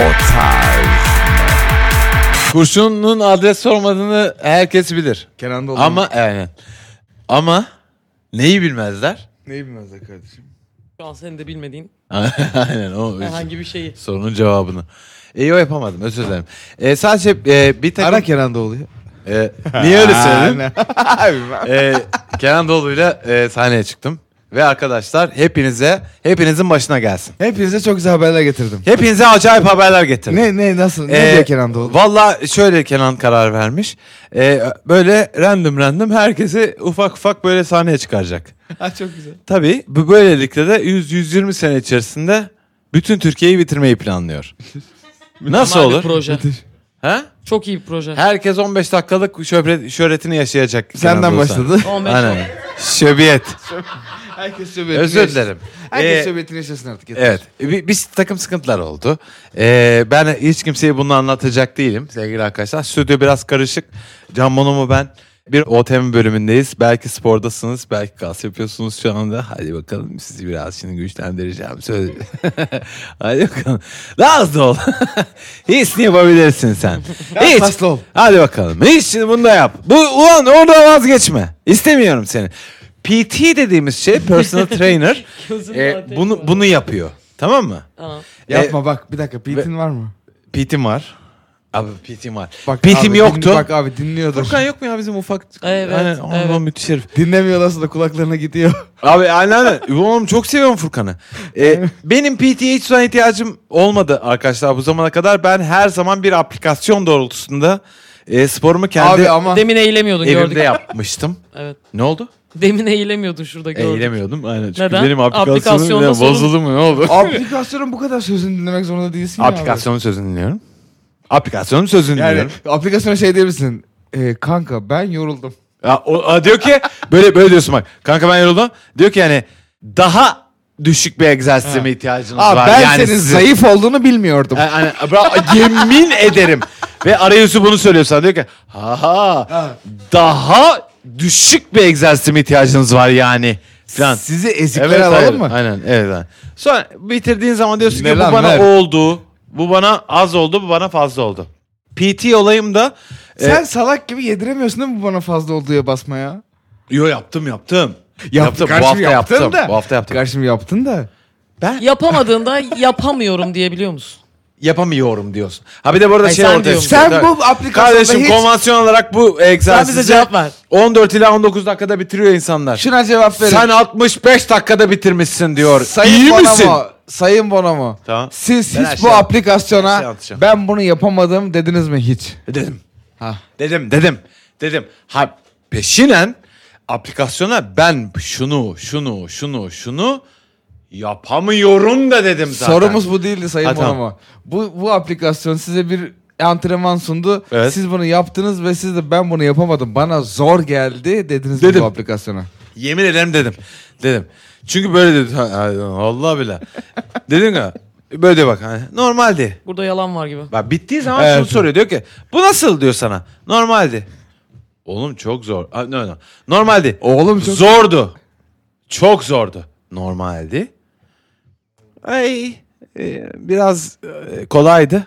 O tarz. Kurşunun adres sormadığını herkes bilir. Kenan Doğulu. Ama yani. Ama neyi bilmezler? Neyi bilmezler kardeşim? Şu an senin de bilmediğin Aynen o herhangi bir şeyi. sorunun cevabını. İyi o yapamadım özür dilerim. E, sadece e, bir takım... Ara Kenan Doğulu'yu. E, niye öyle söyledin? Abi e, Kenan Doğulu'yla e, sahneye çıktım. Ve arkadaşlar hepinize, hepinizin başına gelsin. Hepinize çok güzel haberler getirdim. Hepinize acayip haberler getirdim. Ne ne nasıl? Ee, Ne diyor Kenan Doğulu? Valla şöyle Kenan karar vermiş. Ee, böyle random random herkesi ufak ufak böyle sahneye çıkaracak. Ha, çok güzel. Tabii bu böylelikle de 100-120 sene içerisinde bütün Türkiye'yi bitirmeyi planlıyor. Nasıl Normal bir olur? proje. Ha? Çok iyi bir proje. Herkes 15 dakikalık şöhret, şöhretini yaşayacak. Kenan Senden Doğulu başladı. sahne. 15 Aynen. Şöbiyet. Herkes söbetini Özür dilerim. Herkes Ee, e, söbetini yaşasın artık. yeter. Evet. Bir, bir takım sıkıntılar oldu. Ee, ben hiç kimseye bunu anlatacak değilim sevgili arkadaşlar. Stüdyo biraz karışık. Can Bonomo ben. Bir OTM bölümündeyiz. Belki spordasınız, belki kas yapıyorsunuz şu anda. Hadi bakalım sizi biraz şimdi güçlendireceğim. Söz. Hadi bakalım. Daha hızlı ol. Hissini yapabilirsin sen. Hiç. kaslı ol. Hadi bakalım. Hiç şimdi bunu da yap. Bu ulan orada vazgeçme. İstemiyorum seni. PT dediğimiz şey personal trainer. Gözümde Ee, ateş bunu var. bunu yapıyor. Tamam mı? Tamam. e, Yapma bak bir dakika PT'in var mı? PT'm var. Abi PT'm var. Bak PT'm abi, dinli- yoktu. Bak abi dinliyordur. Furkan yok mu ya bizim ufak? Evet, Aynen, Aman evet. müthiş herif. Dinlemiyorlarsa da kulaklarına gidiyor. Abi aynen aynen. Oğlum çok seviyorum Furkan'ı. Ee, benim PT'ye hiç zaman ihtiyacım olmadı arkadaşlar bu zamana kadar. Ben her zaman bir aplikasyon doğrultusunda e, sporumu kendi abi ama Demin eğilemiyordun gördük. evimde yapmıştım. Evet. Ne oldu? Demin eğilemiyordun şurada gördük. Eğilemiyordum aynen. Çünkü Neden? benim aplikasyonum Aplikasyonda ya, sorun- bozuldu mu ne oldu? aplikasyonun bu kadar sözünü dinlemek zorunda değilsin ya abi. Aplikasyonun sözünü dinliyorum. Aplikasyonun sözünü Yani dinliyorum. aplikasyona şey diyebilirsin. E, kanka ben yoruldum. Ya, o, a, diyor ki böyle böyle diyorsun bak. Kanka ben yoruldum. Diyor ki yani daha düşük bir egzersize mi ihtiyacınız Aa, var? ben yani senin sizin- zayıf olduğunu bilmiyordum. Yani, hani, bra- yemin ederim. Ve arayüzü bunu söylüyor sana. Diyor ki ha ha Ha. daha düşük bir egzersize mi ihtiyacınız var yani? Falan. Sizi ezikler Evet hayır. alalım mı? Aynen evet. Aynen. Sonra bitirdiğin zaman diyorsun Ne ki lan, bu bana ver." oldu. Bu bana az oldu. Bu bana fazla oldu. PT olayım da e, Sen salak gibi yediremiyorsun değil mi bu bana fazla olduğuya basmaya? Yo yaptım yaptım. Yaptım, bu karşım hafta yaptın yaptım. da. Bu hafta yaptım. Karşım yaptın da. Yapamadığında yapamıyorum diyebiliyor musun? Yapamıyorum diyorsun. Ha bir de burada Hayır, şey sen ortaya diyorsun. çıkıyor. Sen Tabii. bu aplikasyonda Kardeşim hiç... konvansiyon olarak bu Sen bize egzersizi cevap ver. 14 ila 19 dakikada bitiriyor insanlar. Şuna cevap verin. Sen 65 dakikada bitirmişsin diyor. Sayın İyi Bonomo, misin? Sayın Bonomo. Tamam. Siz Ben her hiç şeyi bu yap- her şeyi aplikasyona atacağım. ben bunu yapamadım dediniz mi hiç? E, Dedim. Ha. Dedim dedim. Dedim. Ha peşinen aplikasyona ben şunu şunu şunu şunu yapamıyorum da dedim zaten. Sorumuz bu değildi Sayın Ha, tamam. Bonomo. Bu bu aplikasyon size bir antrenman sundu. Evet. Siz bunu yaptınız ve siz de ben bunu yapamadım. Bana zor geldi dediniz mi Dedim. bu aplikasyona. Yemin ederim dedim. Dedim. Çünkü böyle dedi. Ha, ha, Allah bile. Dedim ya. Böyle diyor bak. Hani, normaldi. Burada yalan var gibi. Bak bittiği zaman şunu Evet. soruyor. Diyor ki bu nasıl diyor sana. Normaldi. Oğlum çok zor. Ha, no, no. Normaldi. Oğlum çok- Zordu. Çok zordu. Normaldi. Ay e, biraz e, kolaydı.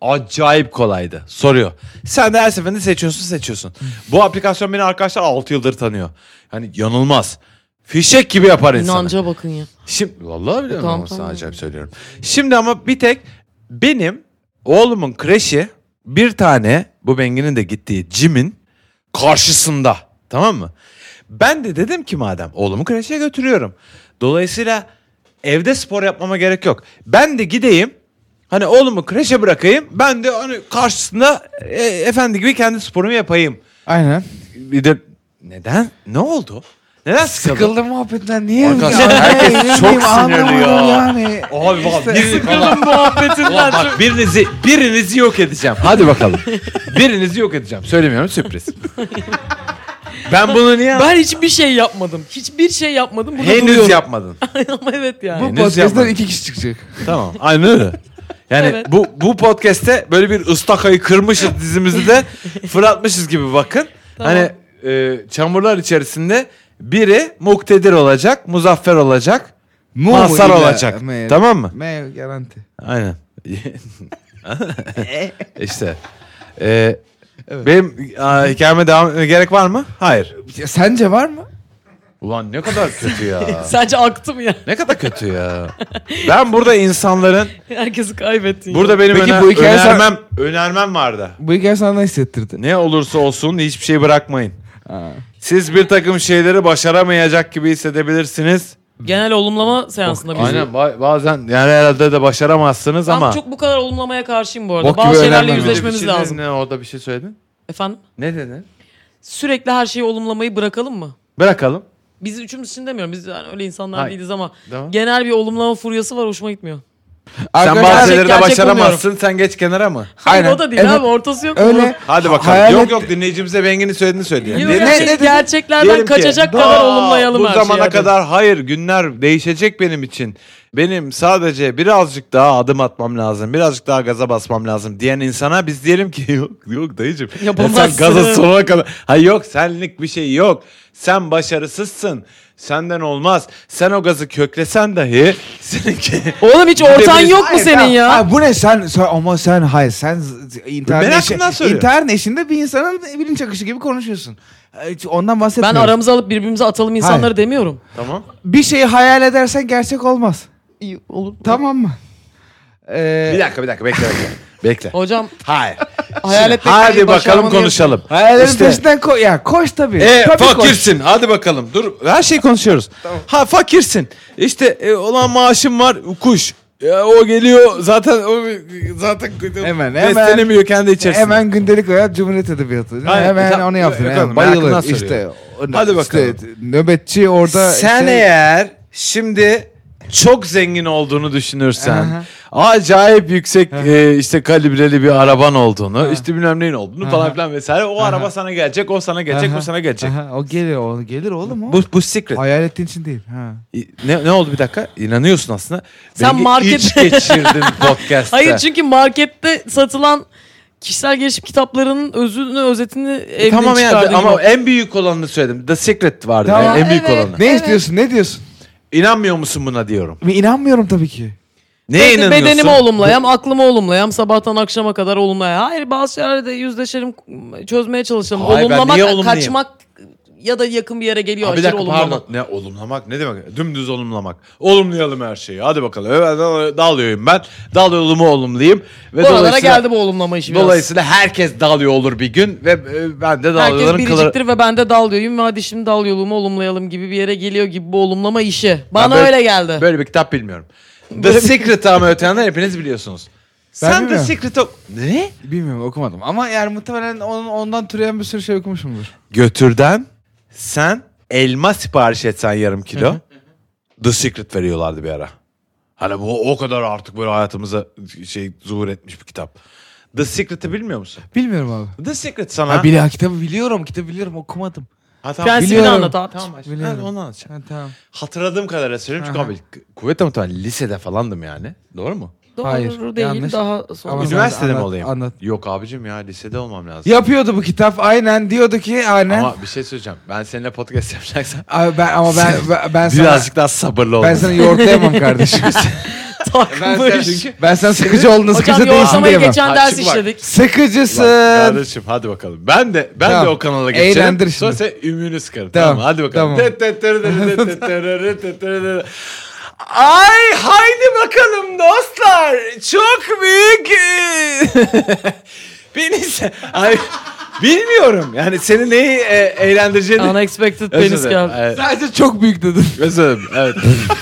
Acayip kolaydı. Soruyor. Sen de her seferinde seçiyorsun seçiyorsun. Bu aplikasyon beni arkadaşlar 6 yıldır tanıyor. Hani yanılmaz. Fişek gibi yapar insanı. İnanca bakın ya. Şimdi vallahi biliyorum E, Tamam, ama sana tamam. acayip söylüyorum. Şimdi ama bir tek benim oğlumun kreşi bir tane bu Bengi'nin de gittiği cimin karşısında. Tamam mı? Ben de dedim ki madem oğlumu kreşe götürüyorum. Dolayısıyla evde spor yapmama gerek yok. Ben de gideyim hani oğlumu kreşe bırakayım. Ben de hani karşısında e, efendi gibi kendi sporumu yapayım. Aynen. Bir de neden? Ne oldu? Neden sıkıldın? Sıkıldı muhabbetten niye? Arkadaşlar, Ya, herkes ne çok bileyim, sinirli anlamadım ya. Yani. Abi şey bak birini, Muhabbetinden Ulan bak birinizi birinizi yok edeceğim. Hadi bakalım. birinizi yok edeceğim. Söylemiyorum sürpriz. ben bunu niye Ben hiçbir şey yapmadım. Hiçbir şey yapmadım. Burada henüz duruyorum. yapmadın? Ama evet yani. Bu Henüz podcast'tan yapmadım. iki kişi çıkacak. tamam. Aynen öyle. Yani Evet. bu bu podcast'te böyle bir ıstakayı kırmışız dizimizi de fırlatmışız gibi bakın. Tamam. Hani e, çamurlar içerisinde biri muktedir olacak, muzaffer olacak, Mu mazhar ile olacak. me- Tamam mı? Me garanti. Aynen. işte. Ee, Benim aa, hikayeme devam gerek var mı? Hayır. Ya Sence var mı? Ulan ne kadar kötü ya. Sadece aktım ya. ne kadar kötü ya. Ben burada insanların Herkesi kaybettin. ya. burada benim Peki öner- bu hikaye sen- önermem önermem vardı. Bu hikaye sana ne hissettirdi? Ne olursa olsun hiçbir şey bırakmayın. Ha. Siz bir takım şeyleri başaramayacak gibi hissedebilirsiniz. Genel olumlama seansında bizi. Aynen ba- bazen yani herhalde de başaramazsınız Ben ama. çok bu kadar olumlamaya karşıyım bu arada. Bok gibi Bazı şeylerle öğrenmem. Bir yüzleşmemiz şey dedin, lazım. Ne orada bir şey söyledin? Efendim? Ne dedin? Sürekli her şeyi olumlamayı bırakalım mı? Bırakalım. Biz üçümüz için demiyorum. Biz yani öyle insanlar Hayır. değiliz ama Tamam. genel bir olumlama furyası var hoşuma gitmiyor. Sen Arkadaşlar- bazı gerçek- şeyleri de gerçek başaramazsın. Sen geç kenara mı? Hayır Aynen. o da değil Evet. abi ortası yok. bunun. Öyle. Hadi Ha- bakalım. hayal yok et- yok dinleyicimize Bengi'nin söylediğini söyledi. Yok, Ne- gerçek- ne dedin? şey? gerçeklerden Diyelim ki, kaçacak "Aa, kadar olumlayalım Bu her şeyi. zamana hadi." kadar hayır günler değişecek benim için. Benim sadece birazcık daha adım atmam lazım. Birazcık daha gaza basmam lazım diyen insana biz diyelim ki yok yok dayıcım. Ya Yapamazsın. sen gaza sonuna kadar. Hayır yok senlik bir şey yok. Sen başarısızsın. Senden olmaz. Sen o gazı köklesen dahi seninki... Oğlum hiç ortan Gidebiliriz. yok mu Hayır, senin ya? Ay bu ne sen, sen- ama sen hayır sen z- z- Ben internet işi- aklımdan söylüyorum. internet işinde bir insanın bilinç akışı gibi konuşuyorsun. Ee, Hiç ondan Ben bahsetmiyorum. aramıza alıp birbirimize atalım insanları Hayır. demiyorum. tamam. bir şeyi hayal edersen gerçek olmaz. İyi olur. Tamam mı? Ee, Bir dakika bir dakika bekle bekle. bekle. Hocam Hayır. hayal etmek Hadi değil, bakalım başarmanı konuşalım. hayallerin İşte- peşinden ko- ya koş tabii. E, tabii koş. fakirsin. Hadi bakalım. Dur. Her şeyi konuşuyoruz. Ha fakirsin. İşte e, olan maaşım var. Kuş. E, o geliyor zaten o zaten Hemen, beslenemiyor kendi içerisinde. Hemen gündelik hayat Cumhuriyet Edebiyatı. Aynen. hemen Sen- onu yaptın. Yok oğlum, Yani. merakından Bayılır soruyor. işte. O- Hadi işte bakalım. nöbetçi orada. Sen işte- eğer şimdi çok zengin olduğunu düşünürsen, Aha. acayip yüksek e, işte kalibreli bir araban olduğunu, işte bilmem neyin olduğunu falan Aha. filan vesaire. O araba sana gelecek, o sana gelecek, Aha, o sana gelecek. aha, o gelir, o gelir oğlum o. Bu bu secret. Hayal ettiğin için değil. Ha. Ne, ne oldu bir dakika? İnanıyorsun aslında. Sen Bengi market- iç geçirdin podcast'ta. Hayır çünkü markette satılan kişisel gelişim kitaplarının özünü, özetini evden E, Tamam ya çıkardın. ama en büyük olanını söyledim. The Secret vardı. Tamam, yani en büyük evet. olanı. Ne istiyorsun? Ne diyorsun? İnanmıyor musun buna diyorum. Ben inanmıyorum tabii ki. Neye Beden- inanıyorsun? Bedenimi olumlayam, aklımı olumlayam, sabahtan akşama kadar olumlayam. Hayır bazı şeylerde yüzleşelim, çözmeye çalışalım. Hayır, ben Olumlamak, niye olumlayayım? kaçmak ya da yakın bir yere geliyor Ha, bir aşırı dakika olumlamak. pardon. Ne olumlamak ne demek? Dümdüz olumlamak. Olumlayalım her şeyi. Hadi bakalım. Evet, Dağılıyorum ben. Dal yolumu olumlayayım. Ve Bu aralara dolayısıyla, geldi bu olumlama işi biraz. dolayısıyla herkes dalıyor olur bir gün. Ve e, ben de Herkes dalıyorların kılır. biriciktir ve ben de dal diyorum ve hadi şimdi dal yolumu olumlayalım gibi bir yere geliyor gibi bu olumlama işi. Bana böyle- öyle geldi. Böyle bir kitap bilmiyorum. The Secret ama öte yandan hepiniz biliyorsunuz. Sen The bilmiyorum. Secret'ı... Ne? Bilmiyorum okumadım ama yani muhtemelen onun, ondan türeyen bir sürü şey okumuşumdur. götürden sen elma sipariş etsen yarım kilo The Secret veriyorlardı bir ara. Hani bu o kadar artık böyle hayatımıza şey zuhur etmiş bir kitap. The Secret'ı bilmiyor musun? Bilmiyorum abi. The Secret sana. Ha, bil- ha, kitabı biliyorum, kitabı biliyorum okumadım. ha, tamam, Prensibini biliyorum. anlat abi. Tamam, aç. Biliyorum. Ha, onu anlatacağım. Ha, tamam. Hatırladığım kadarıyla söyleyeyim çünkü Aha. abi kuvvetle muhtemelen lisede falandım yani. Doğru mu? Doğru Hayır, değil yanlış. daha Ama- sonra. Anlat, Üniversitede mi anlat, olayım? anlat. Yok abicim ya lisede olmam lazım. Yapıyordu bu kitap aynen diyordu ki aynen. Ama, Ama bir şey söyleyeceğim. Ben seninle podcast yapacaksam abi ben, ama ben, ben, ben sana, birazcık daha sabırlı ol. ben sana yoğurtlayamam kardeşim. Ben Takmış. sen çünkü ben sana sıkıcı olduğunu Hocam sıkıcı değilsin yoğurtlamaya diyemem. geçen Ha, ders çık bak. işledik. Sıkıcısın. Lan kardeşim hadi bakalım. Ben de ben Tamam. de o kanala geçeceğim. Eğlendir Sonra şimdi. sen ümünü sıkarım. Tamam. Tamam, hadi bakalım. tamam. Tet tet tere tere tet tere tet tere tere. Ay haydi bakalım dostlar. Çok büyük. e, Beni se- ay bilmiyorum. Yani seni neyi e, eğlendireceğini Unexpected Özür penis dilerim. geldi. Evet, Sadece çok büyük dedin. özür dilerim.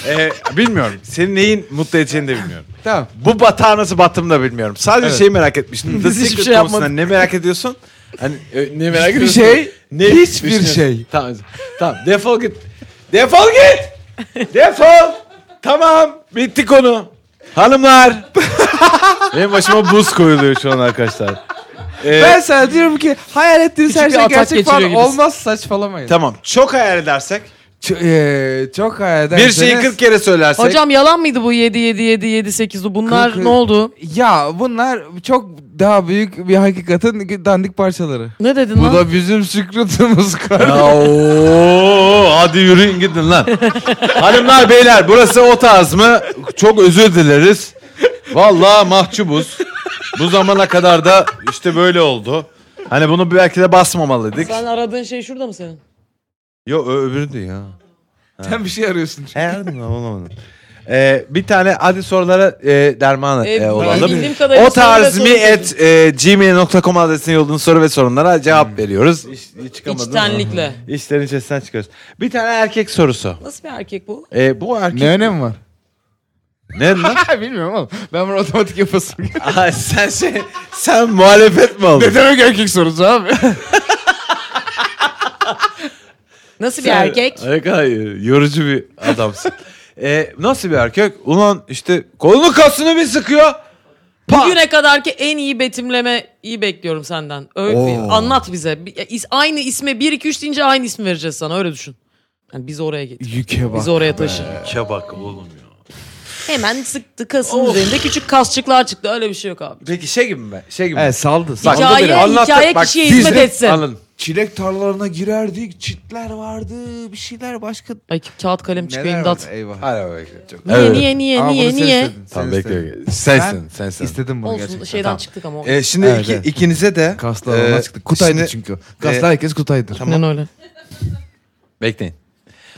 Evet. E, bilmiyorum. Seni neyin mutlu edeceğini de bilmiyorum. tamam. Bu batağa nasıl battım da bilmiyorum. Sadece Evet. şeyi merak etmiştim. The Hiçbir Secret şey yapmadım. konusunda ne merak ediyorsun? Hani e, ne merak Hiçbir ediyorsun? şey, Ne hiçbir düşünüyorsun? şey. Tamam. Tamam. Defol git. Defol git. Defol. Tamam. Bitti konu. Hanımlar. Benim başıma buz koyuluyor şu an arkadaşlar. Ee, Ben sana diyorum ki hayal ettiğiniz Küçük her bir şey atak gerçek falan geçiriyor gibisin. olmaz saçmalamayın. Tamam. Çok hayal edersek. Ç- eee, e, çok hayal Bir ederseniz... şeyi 40 kere söylersek. Hocam yalan mıydı bu 7 7 7 7 8 bunlar Kırk- ne oldu? Ya bunlar çok daha büyük bir hakikatin dandik parçaları. Ne dedin Bu lan? da bizim sıkıntımız kardeşim. Ya, oo, hadi yürüyün gidin lan. Hanımlar beyler burası o tarz mı? Çok özür dileriz. Vallahi mahcubuz. Bu zamana kadar da işte böyle oldu. Hani bunu belki de basmamalıydık. Sen aradığın şey şurada mı senin? Yo ö- öbürüydü ya. Sen bir şey arıyorsun. çünkü. Herhalde olamadım. Ee, bir tane hadi sorulara e, derman Ee, e, olalım. bildiğim kadarıyla O tarz soru mi ve soru et e, gmail.com adresine yolladığın soru ve sorunlara cevap veriyoruz. İç, çıkamadın İçtenlikle. ama. İçlerin Hmm. içerisinden çıkıyoruz. Bir tane erkek sorusu. Nasıl bir erkek bu? E, bu erkek... ne önemi var? Ne lan? Ha, Bilmiyorum oğlum. Ben bunu otomatik yapasım. Aa, sen şey, sen muhalefet mi oldun? Neden öyle erkek sorusu abi? Nasıl bir Sen- erkek? Ne kadar yorucu bir adamsın. E, nasıl bir erkek? Ulan işte kolunu kasını bir sıkıyor. Pa! Bugüne kadarki en iyi betimleme iyi bekliyorum senden. Öyle Oo. anlat bize. Bir- is- aynı isme 1 2 3 deyince aynı ismi vereceğiz sana öyle düşün. Yani bizi oraya getir. Yüke bak. Bizi oraya taşı. Kebak oğlum ya. Hemen sıktı kasın üzerinde küçük kasçıklar çıktı. Öyle bir şey yok abi. Peki şey gibi mi? Şey gibi mi? Evet saldı. Bak, saldı. Hikaye- Anlatın beni, anlatın. hikaye kişiye siz hizmet de- etsin. Anladım. Çilek tarlalarına girerdik. Çitler vardı. Bir şeyler başka. Ay kağıt kalem çıkıyor Neler imdat. vardı? Eyvah. Hala bekle. Çok... Niye, Evet. niye niye Ama bunu niye sen niye? istedin, sen Tamam istedin. bekle. Sensin, Ben sensin. İstedim bunu Olsun gerçekten. şeyden Tamam. çıktık ama. Ee, şimdi Evet, iki- evet. ikinize de... Kaslı e, olmaz çıktı. Kutaydı şimdi- çünkü. Kaslı e, herkes kutaydır. tamam. Aynen öyle. Bekleyin.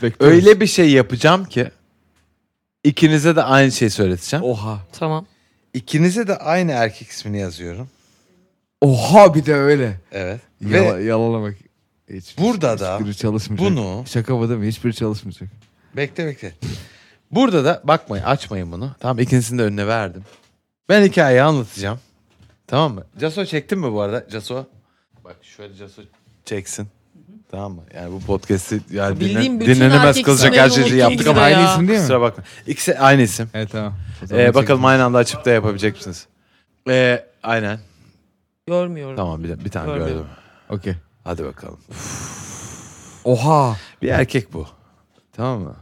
Bekliyoruz. Öyle bir şey yapacağım ki ikinize de aynı şeyi söyleteceğim. Oha. Tamam. İkinize de aynı erkek ismini yazıyorum. Oha bir de öyle. Evet. Yala, Ve yalana bak. Hiç, Burada da hiçbiri çalışmayacak. bunu Şaka bu değil mi? Hiçbiri çalışmayacak. bekle bekle. Burada da bakmayın açmayın bunu. Tamam ikincisini de önüne verdim. Ben hikayeyi anlatacağım. Tamam mı? Caso çektin mi bu arada? Caso. Bak şöyle Caso çeksin. Tamam mı? Yani bu podcast'i yani Bildiğim dinlen- bütün dinlenemez erkek kılacak her isimlerini şeyi unuttum yaptık biz ama de ya. aynı isim değil mi? kusura bakma. İkisi aynı isim. Evet tamam. O zaman Ee, bakalım çekelim. aynı anda açıp da yapabilecek misiniz? Ee, aynen. Görmüyorum. Tamam bir, bir tane Gördüm. gördüm. Okey. Hadi bakalım. Oha. Bir erkek bu. Tamam mı?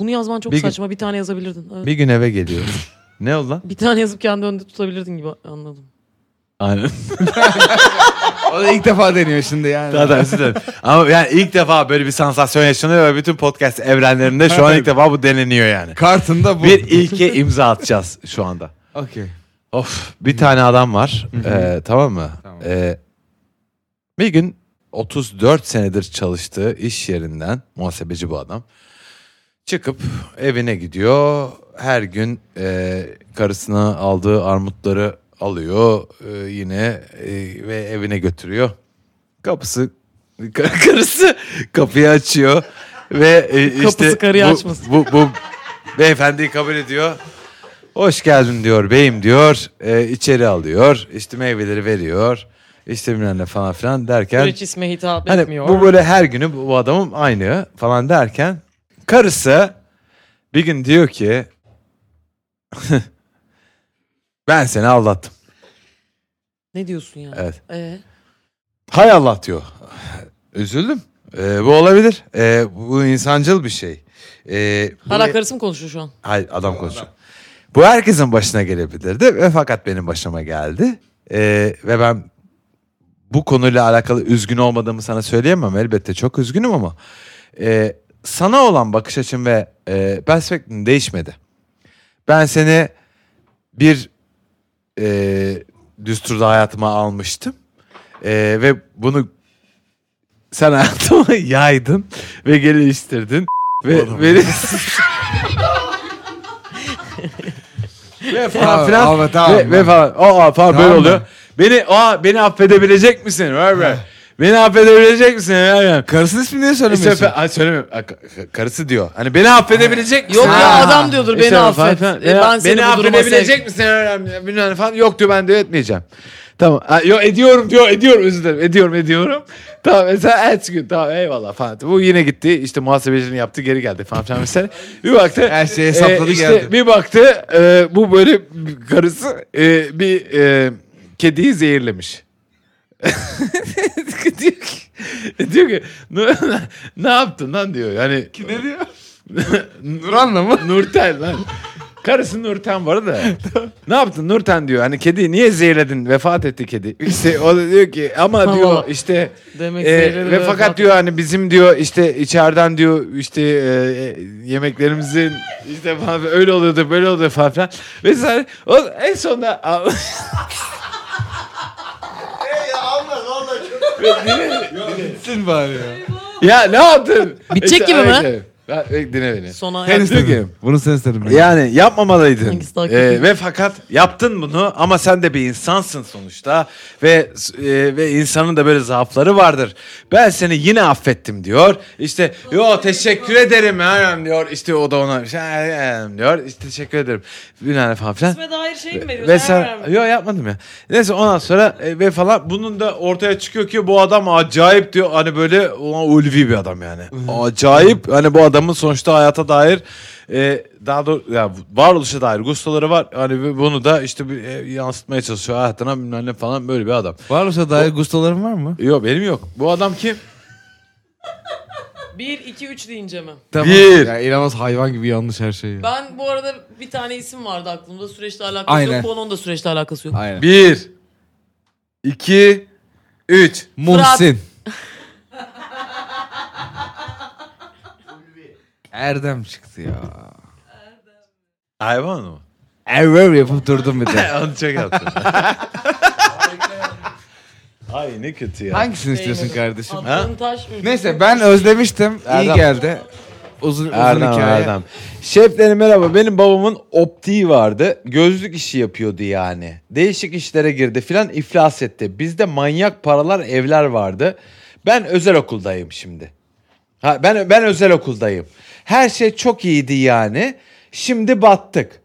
Bunu yazman çok Bir gün- saçma. Bir tane yazabilirdin. Evet. Bir gün eve geliyor. ne oldu lan? Bir tane yazıp kendi önünde tutabilirdin gibi anladım. Aynen. O da ilk defa deniyor şimdi yani. Daha da özür dilerim. Ama yani ilk defa böyle bir sansasyon yaşanıyor ve bütün podcast evrenlerinde şu an ilk defa bu deneniyor yani. Kartında bu. Bir ilke imza atacağız şu anda. Okey. Of bir tane adam var. Ee, tamam mı? Tamam. Ee, bir gün 34 senedir çalıştığı iş yerinden muhasebeci bu adam. Çıkıp evine gidiyor. Her gün e, karısına aldığı armutları alıyor e, yine e, ve evine götürüyor. Kapısı kar- karısı kapıyı açıyor ve e, işte Kapısı karıyı bu, açmasın. bu, bu beyefendiyi kabul ediyor. Hoş geldin diyor beyim diyor. E, içeri alıyor. İşte meyveleri veriyor. İşte bilmem ne falan filan derken. Süreç isme hitap Hani etmiyor. bu böyle her günü bu bu adamın aynı falan derken. Karısı bir gün diyor ki. ben seni aldattım. Ne diyorsun ya? Evet. Ee? Hay Allah diyor. Üzüldüm. E, bu olabilir. E, bu insancıl bir şey. E, bu- Hala karısı mı konuşuyor şu an? Hayır adam konuşuyor. Bu herkesin başına gelebilirdi ve fakat benim başıma geldi. Ee, ve ben bu konuyla alakalı üzgün olmadığımı sana söyleyemem elbette çok üzgünüm ama e, sana olan bakış açım ve e, perspektifim değişmedi. Ben seni bir e, düsturda hayatıma almıştım E, ve bunu sen hayatıma yaydın ve geliştirdin ve beni ve falan Tamam, filan ama tamam. ve, ve falan aa falan Tamam böyle mı? oluyor. Beni aa beni affedebilecek misin? Ver ver. beni affedebilecek misin? Ver ver. Karısının ismini niye İşte söylemiyorsun? fe- Ay, söylemiyorum. Ay, ka- karısı diyor. Hani beni affedebilecek misin? Yok ya Ha. adam diyordur İşte beni falan affet. filan. E, Beni, ben seni beni bu duruma sevk- affedebilecek misin? Önemli. Bilmem ne falan. Yok diyor ben diyor etmeyeceğim. Tamam. Ha, Yo ediyorum diyor. Ediyorum özür dilerim. Ediyorum ediyorum. Tamam mesela ertesi gün tamam eyvallah falan. Bu yine gitti. işte muhasebeciliğini yaptı geri geldi falan filan mesela. Bir baktı. e, Her şeyi hesapladı işte geldi. Bir baktı e, bu böyle karısı e, bir e, kediyi zehirlemiş. diyor ki, diyor ki "Ne- ne yaptın lan diyor. Yani Ne diyor? Nurhan'la mı? Nurten lan. Karısı Nurten var da. ne yaptın Nurten diyor. Hani kedi niye zehirledin? Vefat etti kedi. İşte o da diyor ki ama diyor Allah. işte Demek e, ve zehirledi ve fakat vefat diyor hani bizim diyor işte içeriden diyor işte e, yemeklerimizin işte falan öyle oluyordu böyle oluyordu falan filan. Ve sen o en sonunda Bitsin bari ya. Ya ne yaptın? Bitecek gibi mi? Aynen. Ben- Bek dinle beni. Sona Sen hayat- istedin. Bunu sen istedin. bence. Yani yapmamalıydın. Hangisi daha kötü? Ee, ve fakat yaptın bunu ama sen de bir insansın sonuçta ve e, ve insanın da böyle zaafları vardır. Ben seni yine affettim diyor. İşte yo teşekkür ederim hanım diyor. İşte o da ona şey, hanım diyor. İşte teşekkür ederim. Bilmem ne falan filan. İsme dair şey mi veriyorsun? Vesaire. Yok yapmadım ya. Neyse ondan sonra e, ve falan bunun da ortaya çıkıyor ki bu adam acayip diyor hani böyle ulan ulvi bir adam yani. Acayip hani bu adamın sonuçta hayata dair e, daha doğrusu ya varoluşa dair gustoları var. Hani ve bunu da işte bir, e, yansıtmaya çalışıyor hayatına bilmem ne falan böyle bir adam. Varoluşa dair gustoların var mı? Yok benim yok. Bu adam kim? 1, 2, 3 deyince mi? Bir. Ya inanılmaz hayvan gibi yanlış her şey. ya. Ben bu arada bir tane isim vardı aklımda. Süreçle alakası Aynen. yok. Bono'nun da süreçle alakası yok. Aynen. Bir. iki, Üç. Muhsin. Erdem çıktı ya. Hayvan mı? Error yapıp durdum bir de. Onu çok yaptım. Ay ne kötü ya. Hangisini istiyorsun Beğenirim. kardeşim? Şey, Attığın taş mı? Neyse ben özlemiştim. İyi Erdem. geldi. Uzun, uzun Erdem, hikaye. Erdem. Şeflerim merhaba. Benim babamın optiği vardı. Gözlük işi yapıyordu yani. Değişik işlere girdi filan iflas etti. Bizde manyak paralar evler vardı. Ben özel okuldayım şimdi. Ha, ben ben özel okuldayım. Her şey çok iyiydi yani. Şimdi battık.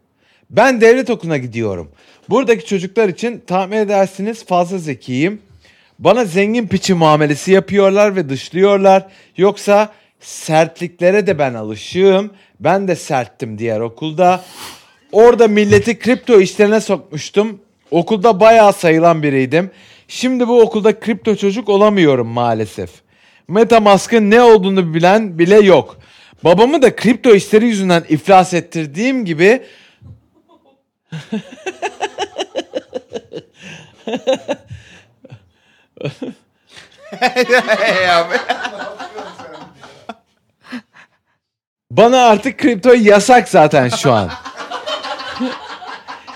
Ben devlet okuluna gidiyorum. Buradaki çocuklar için tahmin edersiniz fazla zekiyim. Bana zengin piçi muamelesi yapıyorlar ve dışlıyorlar. Yoksa sertliklere de ben alışığım. Ben de serttim diğer okulda. Orada milleti kripto işlerine sokmuştum. Okulda bayağı sayılan biriydim. Şimdi bu okulda kripto çocuk olamıyorum maalesef. Metamask'ın ne olduğunu bilen bile yok. Babamı da kripto işleri yüzünden iflas ettirdiğim gibi Bana artık kripto yasak zaten şu an.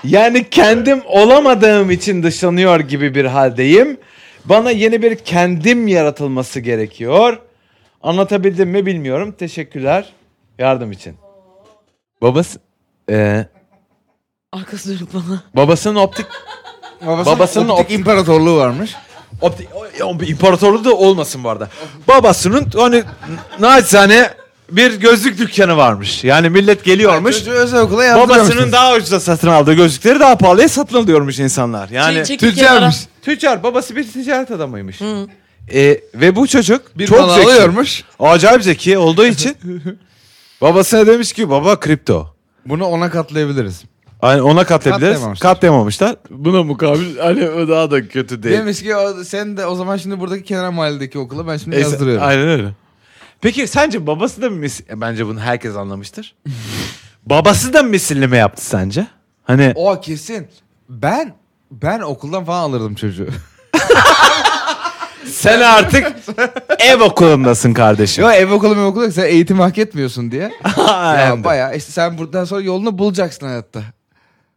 Yani kendim olamadığım için dışlanıyor gibi bir haldeyim. Bana yeni bir kendim yaratılması gerekiyor. Anlatabildim mi bilmiyorum. Teşekkürler yardım için. Babası e, Arkası dönük bana. babasının optik Babasının, Babasının optik optik- imparatorluğu varmış. optik o- o- imparatorluğu da olmasın bu arada. Babasının hani naçizane bir gözlük dükkanı varmış. Yani millet geliyormuş. Çocuğu özel okula yazdırıyormuş. Babasının daha ucuza satın aldığı gözlükleri daha pahalıya satın alıyormuş insanlar. Yani Çek- çek bir kenara. tüccarmış. tüccar babası bir ticaret adamıymış. E, ve bu çocuk Bir çok Çok zeki. alıyormuş. Acayip zeki olduğu için babasına demiş ki baba kripto. Bunu ona katlayabiliriz. Hani ona katlayabiliriz. Katlayamamışlar. Katlayamamışlar. Buna mukabil hani o daha da kötü değil. Demiş ki o- sen de o zaman şimdi buradaki kenar mahalledeki okula ben şimdi E, yazdırıyorum. Aynen öyle. Peki sence babası da mı mis- e, bence bunu herkes anlamıştır. babası da mı misilleme yaptı sence? Hani O kesin. Ben ben okuldan falan alırdım çocuğu. sen artık ev okulundasın kardeşim. Yo ev okulu ev okulu yok. sen eğitim hak etmiyorsun diye. Aynen. ya baya işte sen buradan sonra yolunu bulacaksın hayatta.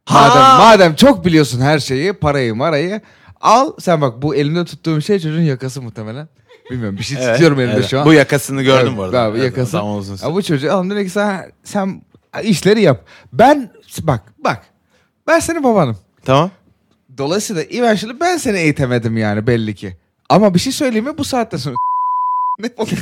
Ha! Madem, madem çok biliyorsun her şeyi parayı marayı al sen bak bu elimde tuttuğum şey çocuğun yakası muhtemelen. Bilmiyorum bir şey Evet, tutuyorum elimde evet. şu an. Bu yakasını gördüm bu arada. Abi, Evet, yakası. Tam uzun Ya bu çocuğu alın dedi ki sen, sen işleri yap. Ben bak bak ben senin babanım. Tamam. Dolayısıyla eventually ben seni eğitemedim yani belli ki. Ama bir şey söyleyeyim mi bu saatte sonra ne oluyor?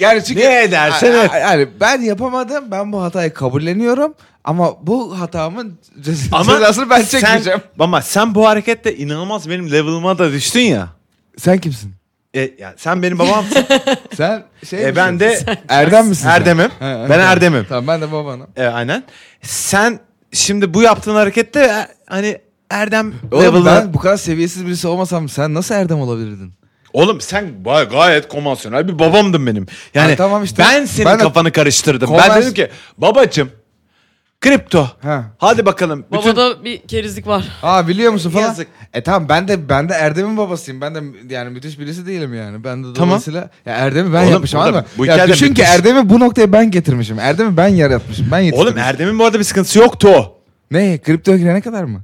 yani çünkü Ne edersen A- a- et. Yani ben yapamadım. Ben bu hatayı kabulleniyorum. Ama bu hatamın cez- cezasını ben çekmeyeceğim. Sen, ama sen bu hareketle inanılmaz benim level'ıma da düştün ya. Sen, kimsin? E, yani sen benim babamsın. Sen şey e, ben de Erdem misin? sen? Erdem'im. Ha, ha, ben tamam. Erdem'im. Tamam ben de babanım. E, aynen. Sen şimdi bu yaptığın harekette e, hani Erdem Oğlum level'ına... ben bu kadar seviyesiz birisi olmasam sen nasıl Erdem olabilirdin? Oğlum sen bay- gayet konvansiyonel bir babamdın benim. Yani Ha, tamam işte. ben senin Ben de- kafanı karıştırdım. Konvans- Ben dedim ki babacım kripto. Ha. Hadi bakalım. Bütün- Babada bir kerizlik var. Aa biliyor musun falan. Yazık. E tamam ben de ben de Erdem'in babasıyım. Ben de mü- yani müthiş birisi değilim yani. Ben de Tamam. dolayısıyla ya Erdem'i ben Oğlum, yapmışım burada anladın mı? bu ya hikayede düşün ki müthiş- Erdem'i bu noktaya ben getirmişim. Erdem'i ben yaratmışım. Ben yetiştirmişim. Oğlum Erdem'in bu arada bir sıkıntısı yoktu o. Ne? Kripto girene kadar mı?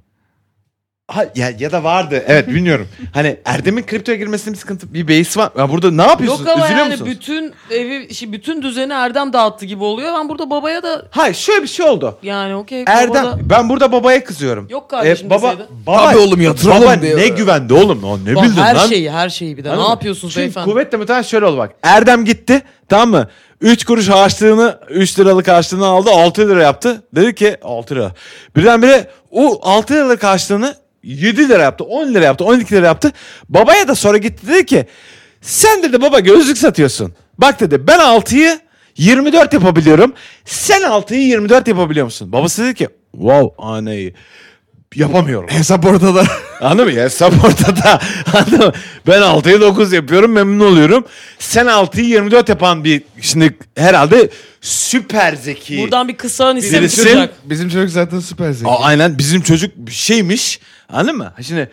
Ha, ya, ya da vardı. Evet bilmiyorum. hani Erdem'in kriptoya girmesinin bir sıkıntı bir beis var. Ya burada ne yapıyorsun? Yok ama Üzülüyor yani musunuz? bütün evi, işi- bütün düzeni Erdem dağıttı gibi oluyor. Ben burada babaya da Hayır şöyle bir şey oldu. yani okey. baba Erdem da- ben burada babaya kızıyorum. E, Yok kardeşim baba, deseydi. baba, Tabii oğlum, yatıralım Baba diye. ne güvendi oğlum? O ne Bak, bildin her şey lan? şeyi her şeyi bir de. Ne Anladın mı? yapıyorsunuz Çünkü beyefendi? kuvvetle muhtemelen şöyle oldu bak. Erdem gitti tamam mı? 3 kuruş harçlığını 3 liralık harçlığını aldı 6 lira yaptı. Dedi ki 6 lira. Birdenbire o 6 liralık harçlığını 7 lira yaptı 10 lira yaptı 12 lira yaptı. Babaya da sonra gitti dedi ki sen dedi baba gözlük satıyorsun. Bak dedi ben 6'yı 24 yapabiliyorum. Sen 6'yı 24 yapabiliyor musun? Babası dedi ki wow anayı yapamıyorum. Hesap ortada. Anladın mı? Yani sap ortada. Anladın mı? Ben 6'yı 9 yapıyorum memnun oluyorum. Sen 6'yı 24 yapan bir şimdi herhalde süper zeki. Buradan bir kısa isim Birisi- çıkacak. Bizim çocuk zaten süper zeki. A- aynen bizim çocuk bir şeymiş. Anladın mı? Şimdi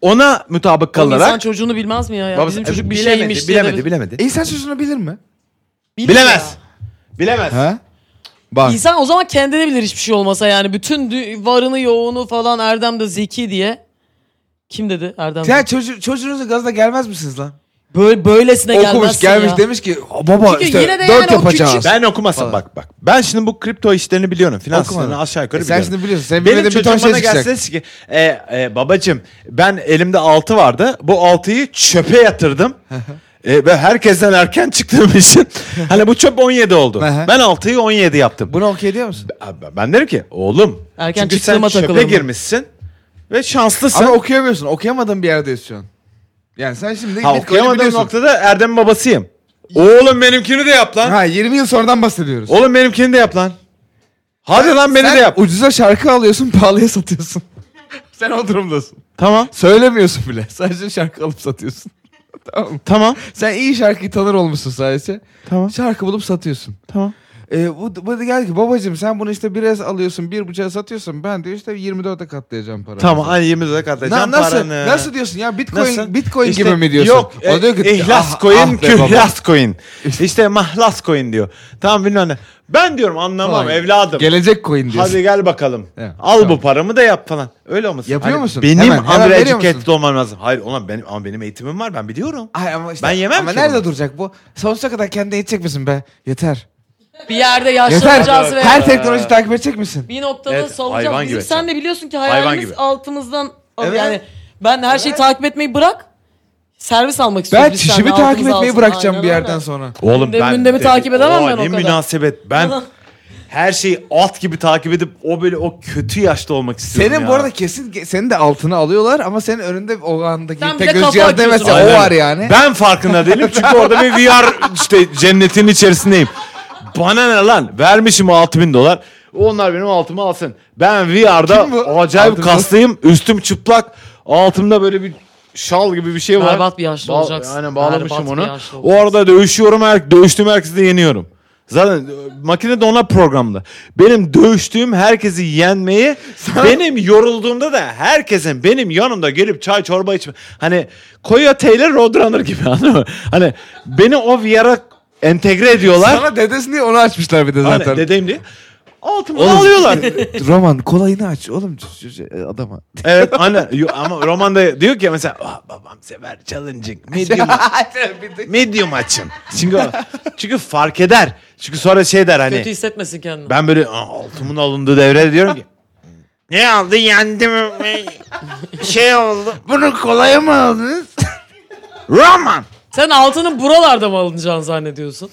ona mutabık Oğlum İnsan kalarak çocuğunu bilmez mi ya? ya? Babası- Bizim çocuk şey bir bilemedi, şeymiş. diye de- bilemedi, bilemedi. İnsan çocuğunu bilir mi? Bilir Bilemez. ya. Bilemez. Ha? Bak. İnsan o zaman kendini bilir hiçbir şey olmasa yani. Bütün dü- varını yoğunu falan Erdem de zeki diye. Kim dedi Erdem? Sen çocuğu, çocuğunuzun gazına gelmez misiniz lan? Böyle, böylesine Okumuş gelmezsin gelmiş ya. demiş ki "Aa, baba Çünkü işte yine de 4 yani o yapacağız. küçük- Ben okumasam Falan. bak bak. Ben şimdi bu kripto işlerini biliyorum. Finans Okumadım. işlerini aşağı yukarı E biliyorum. Sen şimdi biliyorsun. Sen Benim bilmediğin bir ton çocuğum şey bana çıkacak. gelse dese ki e, e, babacım ben elimde 6 vardı bu 6'yı çöpe yatırdım. e, ve herkesten erken çıktığım için hani bu çöp 17 oldu. Aha. ben 6'yı 17 yaptım. Bunu okey diyor musun? Abi Ben derim ki oğlum Erken çünkü sen çıktığıma çöpe takılırım. girmişsin ve şanslısın. Ama okuyamıyorsun. Okuyamadığın bir yerdeyiz şu an. Yani sen şimdi ha, Bitcoin'i okuyamadığım biliyorsun. noktada Erdem babasıyım. Oğlum benimkini de yap lan. Ha 20 yıl sonradan bahsediyoruz. Oğlum benimkini de yap lan. Hadi lan beni Sen de yap. ucuza şarkı alıyorsun pahalıya satıyorsun. sen o durumdasın. Tamam Söylemiyorsun bile. Sadece şarkı alıp satıyorsun. tamam mı? tamam Sen iyi şarkıyı tanır olmuşsun sadece. tamam Şarkı bulup satıyorsun. tamam. E, bu, bu da geldi ki babacım sen bunu işte biraz alıyorsun bir buçuğa satıyorsun. Ben diyor işte 24'e katlayacağım paranı. Tamam hani 20 lira katlayacağım Na- nasıl, paranı. nasıl diyorsun ya Bitcoin Nasıl? Bitcoin İşte gibi mi diyorsun? Yok. E, diyor ki, ihlas "Ah, coin, ah be baba." kühlas coin. İşte mahlas coin diyor. Tamam bilmem ne. Ben diyorum anlamam Falan. evladım. Gelecek coin diyorsun. Hadi gel bakalım. Evet, Al tamam. bu paramı da yap falan. Öyle olmasın. Hani Yapıyor musun? Benim Hemen, hemen under veriyor educated musun? Ah, olmam lazım. Hayır ona benim ama benim eğitimim var ben biliyorum. Ay ama işte, Ben yemem ama ki nerede onu. duracak bu? Sonsuza kadar kendine yetecek misin be? Yeter. Bir yerde Yeter. yaşlanacağız ve Her teknoloji takip edecek misin? bir noktada Evet, hayvan salacağız. Bizim gibi sen sen. de biliyorsun ki Hayvan hayalimiz gibi. altımızdan al- Evet. yani ben her şeyi takip etmeyi bırak. Servis almak istiyorum. Ben Biz seninle çişimi takip altımıza etmeyi alsın. bırakacağım Aynen bir öyle. yerden sonra. Oğlum Gündemi gündemi takip edemem Oo, ben o Ne kadar. münasebet ben Adam- her şeyi at gibi takip edip o böyle o kötü yaşta olmak istiyorum Senin ya. bu arada kesin ge- senin de altına alıyorlar ama senin önünde o andaki Sen bir tek de göz kafa cihaz demese atıyorsun. o Aynen. var yani. Ben farkında değilim çünkü orada bir VR işte cennetin içerisindeyim. Bana ne lan? Vermişim 6000 dolar. Onlar benim altımı alsın. Ben VR'da Kim bu? acayip Altın kaslıyım. Üstüm çıplak. Altımda böyle bir şal gibi bir şey var. Berbat bir yaşlı olacaksın. Aynen bağlamışım Berbat bir onu. yaşlı O arada dövüşüyorum. Her, dövüştüğüm herkesi de yeniyorum. Zaten e, makine de ona programlı. Benim dövüştüğüm herkesi yenmeyi, benim yorulduğumda da herkesin benim yanımda gelip çay çorba içme. Hani Coyote ile Roadrunner gibi anladın mı? Hani beni o VR'a entegre ediyorlar. Sana dedesin diye onu açmışlar bir de Hani zaten. dedeyim diye. Altımı alıyorlar. Roman kolayını aç oğlum c- c- adama. evet anne Yo, ama romanda diyor ki mesela "Ah, babam sever challenging. Medium, medium açın. Çünkü, çünkü fark eder. Çünkü sonra şey der hani. Kötü hissetmesin kendini. Ben böyle "Aa, altımın alındığı devre diyorum ki. Ne aldı yendim. şey oldu. Bunu kolaya mı aldınız? Roman. Sen altının buralarda mı alınacağını zannediyorsun?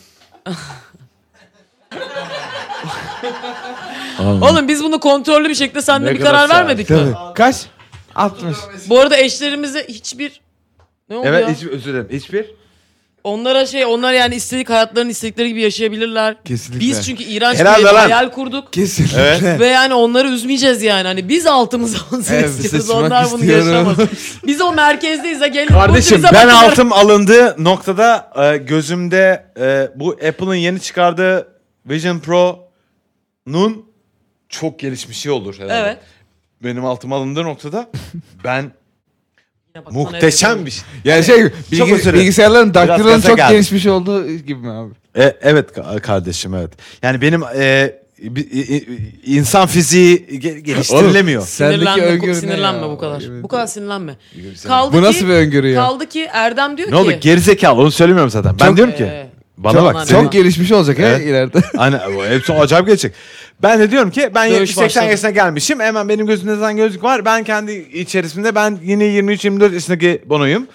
Oğlum biz bunu kontrollü bir şekilde seninle Ne bir kadar karar sağ- vermedik mi? Kaç? 60. Bu arada eşlerimize hiçbir ne oldu Evet ya? hiç, özür dilerim. Hiçbir. Onlara şey onlar yani istedik hayatlarını istedikleri gibi yaşayabilirler. Kesinlikle. Biz çünkü iğrenç Helal bir lan. hayal kurduk. Kesinlikle. Evet. Ve yani onları üzmeyeceğiz yani. Hani biz altımız olsun Evet, istiyoruz. seçmek Onlar bunu istiyorum. yaşamaz. Biz o merkezdeyiz. Ha, gelin Kardeşim bize ben bakın. altım alındığı noktada e, gözümde e, bu Apple'ın yeni çıkardığı Vision Pro'nun çok gelişmişi olur herhalde. Evet. Benim altım alındığı noktada ben Yine bak, sana evet muhteşem bir şey. Yani şey Çok bilgi- özür dilerim. bilgisayarların daktilonun gaza çok geldim. gelişmiş olduğu gibi mi abi? E, evet ka- kardeşim evet. Yani benim e, bi- i- i- insan fiziği ge- Oğlum, geliştirilemiyor. sendeki Sinirlenme, öngörü ne sinirlenme ya? bu kadar. Evet. Bu kadar sinirlenme. Sinirlenme. Kaldı Bu ki, nasıl bir öngörü ya? Kaldı ki Erdem diyor ne ki. oldu gerizekalı onu söylemiyorum zaten. Ben Çok- diyorum ki Ee, bana çok, bak çok senin- gelişmiş olacak Evet. he ileride. Hani bu hepsi acayip gelecek. Ben de diyorum ki ben Dövüş 70-80 başladı. yaşına gelmişim. Hemen benim gözümde zaten gözlük var. Ben kendi içerisinde ben yine 23-24 yaşındaki Bono'yum.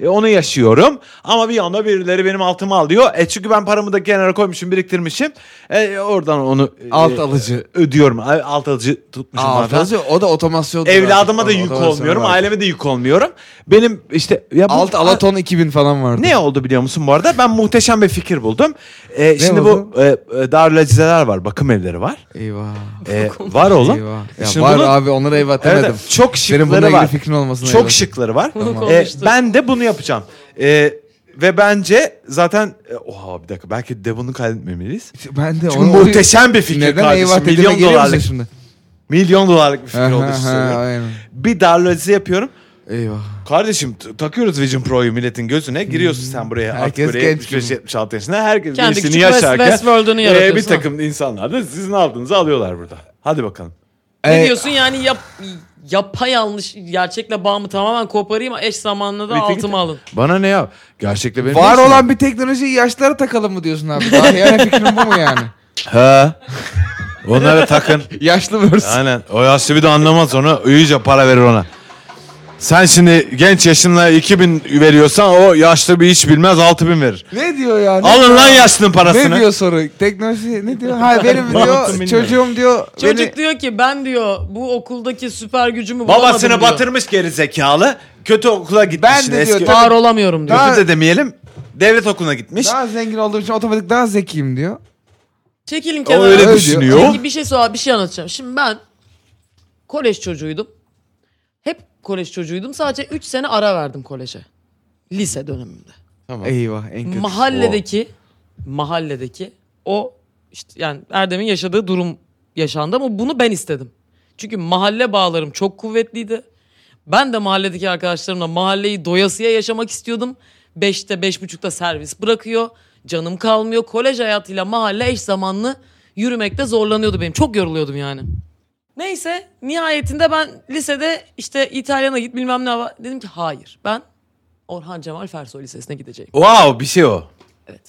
E, onu yaşıyorum. Ama bir yanda birileri benim altımı alıyor. E çünkü ben paramı da kenara koymuşum, biriktirmişim. E oradan onu e, Alt alıcı. ödüyorum. A- Alt alıcı tutmuşum. Aa, zaten. fazla- o da otomasyon. Evladıma da yük olmuyorum. Aileme de yük olmuyorum. Benim işte ya bu- Alt Alaton 2000 falan vardı. ne oldu biliyor musun bu arada? Ben muhteşem bir fikir buldum. Ee, şimdi oldu? bu e, e, darülacizeler var, bakım evleri var. Eyvah. Ee, var oğlum. Eyvah. Ya Şimdi var bunu- abi onlara eyvah Evet, demedim. evet, çok Senin bununla şıkları ilgili var. fikrin olmasına Çok eyvah. şıkları var. Bunu Ee, konuştuk. ben de bunu yapacağım. Ee, ve bence zaten e, oha bir dakika belki de bunu kaydetmemeliyiz. Ben de Çünkü muhteşem bir fikir Neden kardeşim. eyvah dediğime milyon geliyor musun dolarlık. şimdi? Milyon dolarlık bir fikir Aha, oldu aha, aynen. Bir darülacize yapıyorum. Eyvah. Kardeşim t- takıyoruz Vision Pro'yu milletin gözüne. Giriyorsun sen buraya artık Herkes buraya genç gibi. 75-76 yaşında. Herkes Kendi gençliğini küçük yaşarken. West- Westworld'unu ee, yaratıyorsun, bir ha? takım insanlar da sizin aldığınızı alıyorlar burada. Hadi bakalım. Ne Ee, diyorsun yani yap, yapayalnız gerçekle bağımı tamamen koparayım eş zamanlı da Bitti altımı gitti. alın. Bana ne ya? Gerçekte benim Var neyse. olan bir teknolojiyi yaşlara takalım mı diyorsun abi? Daha yani fikrin bu mu yani? Ha. Onlara takın. Yaşlı versus. Aynen. O yaşlı bir de anlamaz onu. İyice para verir ona. Sen şimdi genç yaşınla 2000 veriyorsan o yaşlı bir iş bilmez 6000 verir. ne diyor ya? Ne Alın diyor? lan yaşlının parasını. Ne diyor soru? Teknoloji ne diyor? Ha benim Mantım diyor bilmiyorum. çocuğum diyor. Çocuk beni- diyor ki ben diyor bu okuldaki süper gücümü bulamadım Babasını diyor. batırmış geri zekalı. Kötü okula gitmiş. Ben de diyor, Var olamıyorum diyor. Daha- Kötü de demeyelim. Devlet okuluna gitmiş. Daha zengin olduğum için otomatik daha zekiyim diyor. Çekilin O kenara. öyle Öyle düşünüyor. diyor. Peki bir şey sor, bir şey anlatacağım. Şimdi ben kolej çocuğuydum. Hep kolej çocuğuydum. Sadece 3 sene ara verdim koleje. Lise dönemimde. Eyvah en kötü. mahalledeki mahalledeki o işte yani Erdem'in yaşadığı durum yaşandı ama bunu ben istedim. Çünkü mahalle bağlarım çok kuvvetliydi. Ben de mahalledeki arkadaşlarımla mahalleyi doyasıya yaşamak istiyordum. Beşte, beş buçukta servis bırakıyor. Canım kalmıyor. Kolej hayatıyla mahalle eş zamanlı yürümekte zorlanıyordu benim. Çok yoruluyordum yani. Neyse nihayetinde ben lisede işte İtalyan'a git bilmem ne var. Dedim ki hayır ben Orhan Cemal Fersoy Lisesi'ne gideceğim. Wow bir şey o. Evet.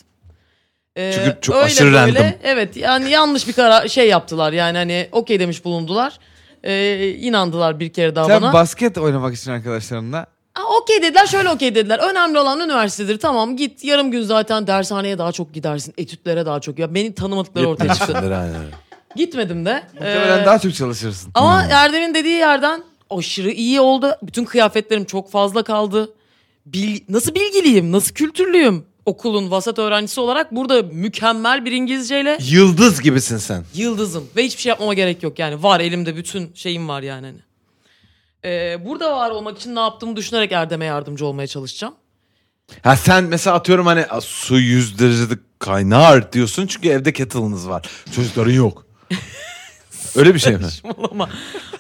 Ee, Çünkü çok aşırı random. Evet yani yanlış bir karar şey yaptılar yani hani okey demiş bulundular. Ee, inandılar bir kere daha Sen bana. basket oynamak için arkadaşlarınla. Aa, okey dediler şöyle okey dediler. Önemli olan üniversitedir tamam git yarım gün zaten dershaneye daha çok gidersin. Etütlere daha çok. Ya beni tanımadıkları ortaya çıktı. Gitmedim de. Muhtemelen Ee, daha çok çalışırsın. ama Erdem'in dediği yerden aşırı iyi oldu. Bütün kıyafetlerim çok fazla kaldı. Bil- nasıl bilgiliyim? Nasıl kültürlüyüm? Okulun vasat öğrencisi olarak burada mükemmel bir İngilizceyle Yıldız gibisin sen. yıldızım ve hiçbir şey yapmama gerek yok yani var elimde bütün şeyim var yani hani. Ee, burada var olmak için ne yaptığımı düşünerek Erdem'e yardımcı olmaya çalışacağım. Ha sen mesela atıyorum hani "Aa, su 100 derecede kaynar diyorsun çünkü evde kettle'ınız var. Çocukların yok. Öyle bir şey mi? Ama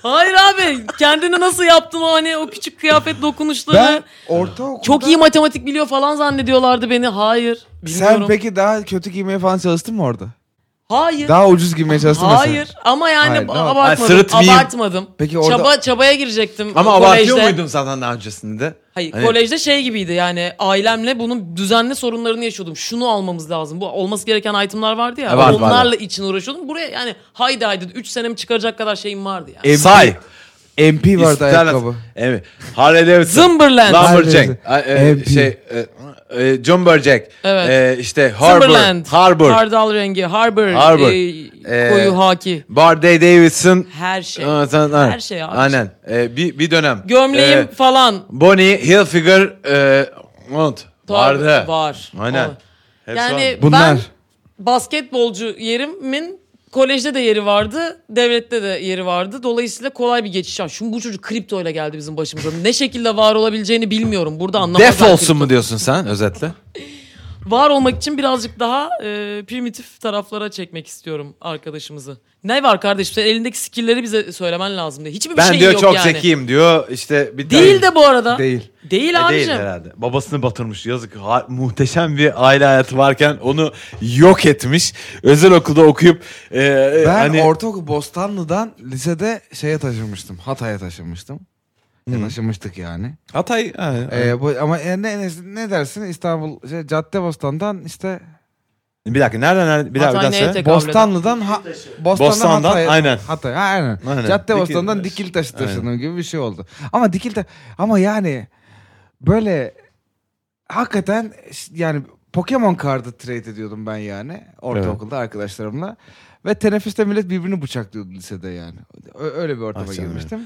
hayır abi kendini nasıl yaptın o hani o küçük kıyafet dokunuşları. Ben ortaokulda... Çok iyi matematik biliyor falan zannediyorlardı beni. Hayır. Bilmiyorum. Sen peki daha kötü giymeye falan çalıştın mı orada? Hayır. Daha ucuz giymeye çalıştın mı sen? Hayır ama yani Hayır, tamam. Ay, abartmadım. sırıtmayayım. abartmadım. Peki orada- Çaba, çabaya girecektim. Ama kolejde. abartıyor muydun zaten daha öncesinde? Hayır Hani- kolejde şey gibiydi yani ailemle bunun düzenli sorunlarını yaşıyordum. Şunu almamız lazım. Bu olması gereken itemlar vardı ya. Evet, E, vardı. onlarla için uğraşıyordum. Buraya yani haydi haydi 3 senemi çıkaracak kadar şeyim vardı E, yani. MP, Say. MP vardı İsterler- ayakkabı. Evet. Harley Davidson. Zımberland. Lumberjack. Harley Ay, e, Davidson. şey e, e, Jumberjack. Evet. E, işte Harbor. Timberland, Harbor. Hardal rengi, Harbor, Harbor. e, Ee, koyu haki. Barday Davidson. Her şey. Aa, sen- Her şey abi. Aynen. E, bir, bir dönem. Gömleğim E, falan. Bonnie Hilfiger e, mont vardı. Var. Aynen. Var. Hepsi Yani var. Bunlar. ben basketbolcu yerimin kolejde de yeri vardı, devlette de yeri vardı. Dolayısıyla kolay bir geçiş. Ya Şimdi bu çocuk kriptoyla geldi bizim başımıza. Ne şekilde var olabileceğini bilmiyorum. Burada anlamazlar. Def olsun kripto. mu diyorsun sen özetle? var olmak için birazcık daha e, primitif taraflara çekmek istiyorum arkadaşımızı. Ne var kardeşim? Sen elindeki skill'leri bize söylemen lazım diye. Hiçbir Ben şey diyor yok çok yani. zekiyim diyor. İşte bir Değil de bu arada. Değil, Değil. E, değil abicim. herhalde. Babasını batırmış yazık. Ha- muhteşem bir aile hayatı varken onu yok etmiş. Özel okulda okuyup e, e, Ben hani ortaokul Bostanlı'dan lisede şeye taşınmıştım. Hatay'a taşınmıştım. Ya Taşınmıştık yani. Hatay ha, Ee, bu, ama e, ne, ne, ne dersin İstanbul şey, Caddebostan'dan işte bir dakika nereden nereden bir daha bir Hatay daha neye söyle. tek- Tekabül Bostanlı'dan ha, Bostan'dan, Bostan'dan, Hatay'a- aynen. Hatay, ha, aynen. Aynen. Caddebostan'dan Dikili- Dikilitaş'a Aynen. taşındığım gibi bir şey oldu. Ama Dikilitaş ama yani böyle hakikaten ş- yani Pokemon kartı trade ediyordum ben yani ortaokulda arkadaşlarımla. Ve teneffüste millet birbirini bıçaklıyordu lisede yani. Ö- öyle bir ortama Ah canım benim. girmiştim.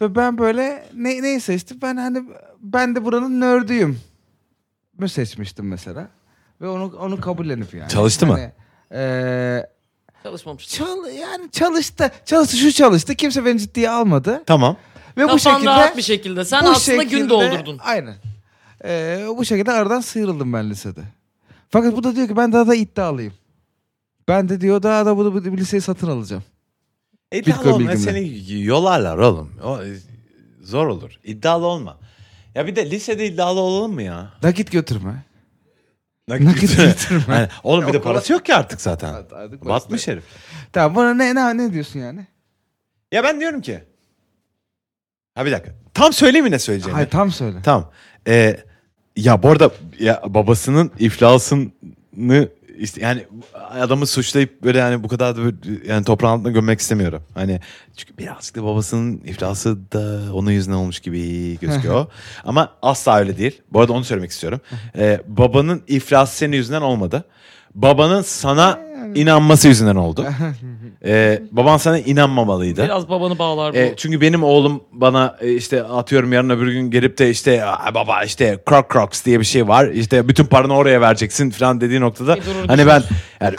Ve ben böyle ne, neyi seçtim? Ben hani ben de buranın nördüyüm. Mü seçmiştim mesela. Ve onu onu kabullenip yani. Çalıştı mı? Hani, eee, Çalışmamıştım. Çal, yani çalıştı. Çalıştı şu çalıştı. Kimse beni ciddiye almadı. Tamam. Ve bu Kafan şekilde rahat bir şekilde. Sen bu aslında şekilde- gün doldurdun. Aynen. Ee, bu şekilde aradan sıyrıldım ben lisede. Fakat bu da diyor ki ben daha da iddialıyım. Ben de diyor daha da bunu bu, bu liseyi satın alacağım. İddialı Bitcoin olma bilgimi. seni yolarlar oğlum. O, e, zor olur. İddialı olma. Ya bir de lisede iddialı olalım mı ya? Nakit götürme. Nakit, Nakit getirme. Aynen. Oğlum bir de Okula- parası yok ki artık zaten. Evet, artık parası Batmış herif. Tamam bana ne, ne, ne diyorsun yani? Ya ben diyorum ki. Ha bir dakika. Tam söyleyeyim mi ne söyleyeceğimi? Hayır tam söyle. Tamam. Ee, ya bu arada ya babasının iflasını işte yani adamı suçlayıp böyle yani bu kadar da böyle yani toprağın altına gömmek istemiyorum. Hani çünkü birazcık da babasının iflası da onun yüzünden olmuş gibi gözüküyor. Ama asla öyle değil. Bu arada onu söylemek istiyorum. Ee, babanın iflası senin yüzünden olmadı. Babanın sana inanması yüzünden oldu. Ee, baban sana inanmamalıydı. Biraz babanı bağlar bu. E, çünkü benim oğlum bana e, işte atıyorum yarın öbür gün gelip de işte "Aa, baba işte Croc Crocs diye bir şey var. İşte bütün paranı oraya vereceksin falan dediği noktada. Bir durur hani düşünür. ben yani,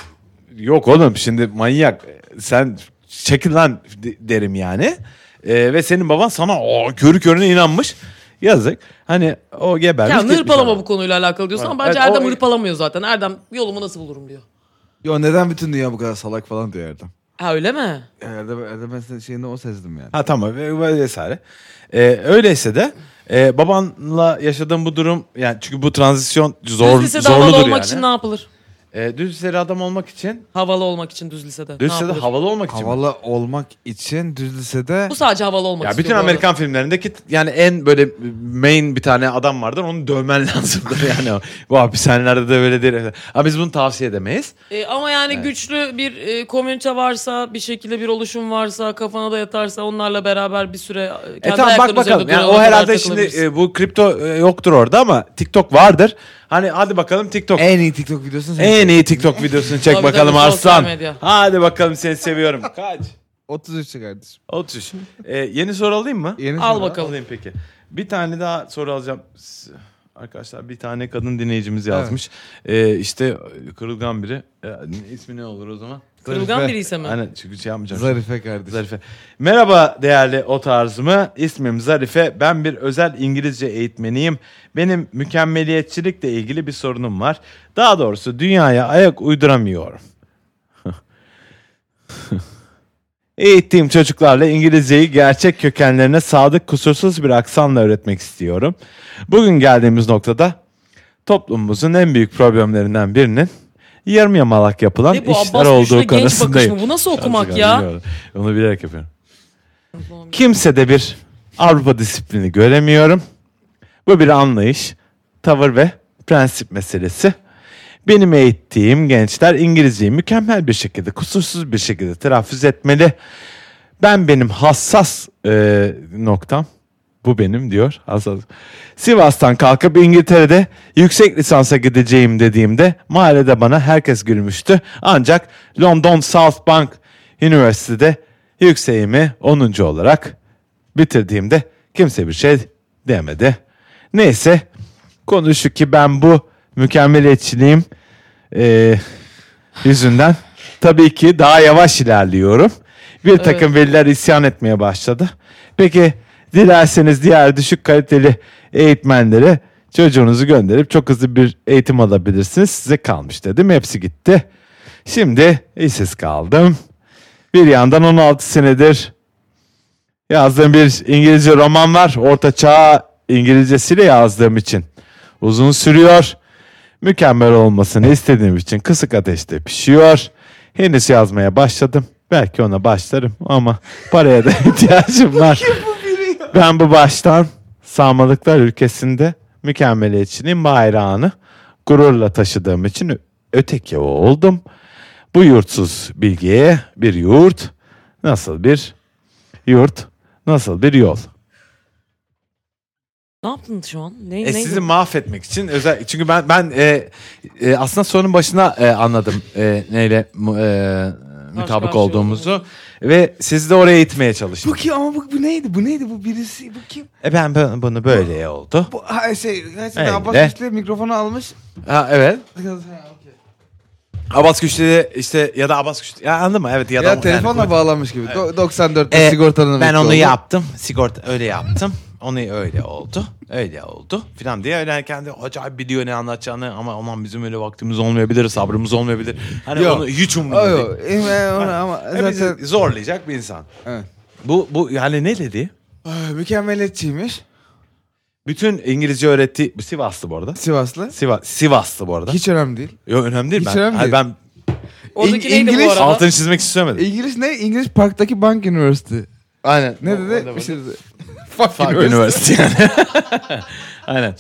yok oğlum şimdi manyak sen çekil lan de- derim yani. E, ve senin baban sana o körü körüne inanmış. Yazık. Hani o gebermiş. ya gitmiş hırpalama adam. bu konuyla alakalı diyorsun ama Evet, bence o- Erdem hırpalamıyor zaten. Erdem yolumu nasıl bulurum diyor. Yo neden bütün dünya bu kadar salak falan diyor Erdem. Ha öyle mi? Erdem, Erdem ben senin şeyini o sezdim yani. Ha tamam ve- ve- vesaire. Ee, öyleyse de e, babanla yaşadığım bu durum yani çünkü bu tranzisyon zor, düz lisede havalı zorludur olmak yani. için ne yapılır? Ee, düz liseli adam olmak için, Havalı olmak için düz düz lisede. ne lisede yapılır? havalı olmak için. mi? Havalı olmak için düz lisede... Bu sadece havalı olmak Ya istiyor bütün bu arada. Amerikan filmlerindeki t- yani en böyle main bir tane adam vardır onu dövmen lazımdır yani. o. Bu hapishanelerde de böyle değil. Ama biz bunu tavsiye edemeyiz. E, ama yani güçlü bir e, komünite varsa, bir şekilde bir oluşum varsa, kafana da yatarsa onlarla beraber bir süre e, kendi E tamam ayaklarının bak üzerinde bakalım. Yani durana o kadar herhalde şimdi takılabilirsin. e, bu kripto e, yoktur orada ama TikTok vardır. Hani hadi bakalım TikTok. En iyi TikTok videosunu sen En iyi TikTok videosunu çek Tabii bakalım tabii, sosyal Arslan. medya. Hadi bakalım seni seviyorum. Kaç? 33 kardeşim. 33. Ee, yeni soru alayım mı? Yeni Al soru. bakalım. Alayım peki. Bir tane daha soru alacağım. S- Arkadaşlar bir tane kadın dinleyicimiz yazmış. Ee, işte kırılgan biri. Ee, ne- ismi ne olur o zaman? Kırılgan Zarife. biri ise mi? Aynen çünkü şey yapmayacağım. Zarife kardeşim. Zarife. Merhaba değerli o tarzımı. İsmim Zarife. Ben bir özel İngilizce eğitmeniyim. Benim mükemmeliyetçilikle ilgili bir sorunum var. Daha doğrusu dünyaya ayak uyduramıyorum. Eğittiğim çocuklarla İngilizceyi gerçek kökenlerine sadık kusursuz bir aksanla öğretmek istiyorum. Bugün geldiğimiz noktada toplumumuzun en büyük problemlerinden birinin yarım yamalak yapılan Ne E, bu işler Abbas Güçlü olduğu genç bakış mı? konusundayım. Bu nasıl okumak Azıcık ya? anlıyorum. Onu bilerek yapıyorum. Kimse de bir Avrupa disiplini göremiyorum. Bu bir anlayış, tavır ve prensip meselesi. Benim eğittiğim gençler İngilizceyi mükemmel bir şekilde, kusursuz bir şekilde telaffuz etmeli. Ben benim hassas e, noktam bu benim diyor. Hassas. Sivas'tan kalkıp İngiltere'de yüksek lisansa gideceğim dediğimde mahallede bana herkes gülmüştü. Ancak London South Bank Üniversitede yükseğimi 10. olarak bitirdiğimde kimse bir şey demedi. Neyse konu şu ki ben bu mükemmeliyetçiliğim e, yüzünden tabii ki daha yavaş ilerliyorum. Bir takım veliler isyan etmeye başladı. Peki dilerseniz diğer düşük kaliteli eğitmenlere Çocuğunuzu gönderip çok hızlı bir eğitim alabilirsiniz. Size kalmış dedim. Hepsi gitti. Şimdi işsiz kaldım. Bir yandan 16 senedir yazdığım bir İngilizce roman var. Orta çağ İngilizcesiyle yazdığım için. Uzun sürüyor. Mükemmel olmasını istediğim için kısık ateşte pişiyor. Henüz yazmaya başladım. Belki ona başlarım ama paraya da ihtiyacım var. Ben bu baştan Sağmalıklar ülkesinde mükemmeliyetçinin bayrağını gururla taşıdığım için ö- öteki oldum. Bu yurtsuz bilgiye bir yurt nasıl bir yurt nasıl bir yol? Ne yaptın şu an? Ne, E neydi? sizi mahvetmek için özel çünkü ben ben e, e, aslında sorunun başına e, anladım e, neyle mu- e, mutabık karşıya olduğumuzu ve sizi de oraya itmeye Bu çalıştım. ki ama bu, bu neydi? Bu neydi? Bu birisi bu kim? E ben ben- bunu böyle oldu. Bu ha, şey gerçekten Öyle. Abbas Güçlü mikrofonu almış. Ha evet. Ha, okey. Abbas Güçlü işte ya da Abbas Güçlü ya anladın mı? Evet ya, Ya, da telefonla yani- bağlanmış gibi. Do- 94 E, sigortanın Ben mutlu onu oldu. yaptım. Sigorta öyle yaptım. Onu öyle oldu. Öyle oldu filan diye öyle hani kendi acayip biliyor ne anlatacağını ama aman bizim öyle vaktimiz olmayabilir, sabrımız olmayabilir. Hani Yok. onu hiç umurumda Ay, değil. Yok. E, ben onu ama E, bizi zaten zorlayacak bir insan. Evet. Bu bu yani ne dedi? Ay, mükemmeliyetçiymiş. Bütün İngilizce öğrettiği bu Sivaslı bu arada. Sivaslı. Sivas Sivaslı bu arada. Hiç önemli değil. Yo önemli değil hiç ben. önemli hayır, değil. ben Oradaki İng- neydi İngiliz- bu arada? altını çizmek istemedim. İngiliz ne? İngiliz Park'taki Bank University. Aynen. Ne dedi? Bir şey dedi. Fuck Fuck üniversite yani. Aynen.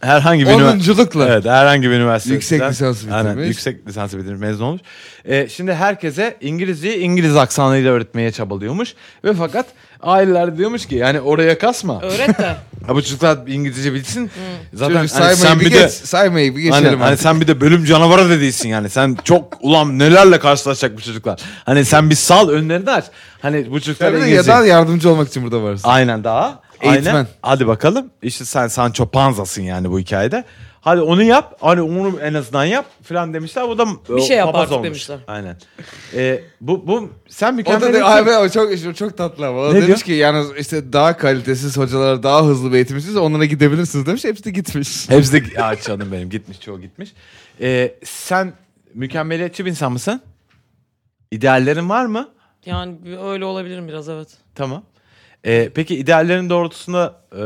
Herhangi bir ünivers- Onunculukla. Evet herhangi bir üniversite. Yüksek lisansı bitirmiş. Aynen yüksek lisansı bitirmiş mezun olmuş. Ee, şimdi herkese İngilizceyi İngiliz aksanıyla öğretmeye çabalıyormuş. Ve fakat aileler diyormuş ki yani oraya kasma. Öğret de. Ha, bu çocuklar bir İngilizce bilsin. Zaten Çocuk hani saymayı sen bir bir geç. de Saymayı bir geçelim. Aynen, hani artık. sen bir de bölüm canavarı da değilsin yani. Sen çok ulan nelerle karşılaşacak bu çocuklar. Hani sen bir sal önlerini aç. Hani bu çocuklar Tabii de ya İngilizce. da yardımcı olmak için burada varsın. Aynen daha. Eğitmen. Aynen. Hadi bakalım. İşte sen Sancho Panza'sın yani bu hikayede. Hadi onu yap. Hani onu en azından yap falan demişler. Bu da bir şey yap artık demişler. Aynen. Ee, bu, bu sen O mükemmel. da de, eğitim- abi o çok çok tatlı ama. O Ne demiş diyor? ki yalnız işte daha kalitesiz hocalara daha hızlı bir eğitim istiyorsanız onlara gidebilirsiniz demiş. Hepsi de gitmiş. Hepsi de ya canım benim gitmiş çoğu gitmiş. Ee, sen mükemmeliyetçi bir insan mısın? İdeallerin var mı? Yani bir- öyle olabilirim biraz evet. Tamam. Ee, peki ideallerin doğrultusunda e,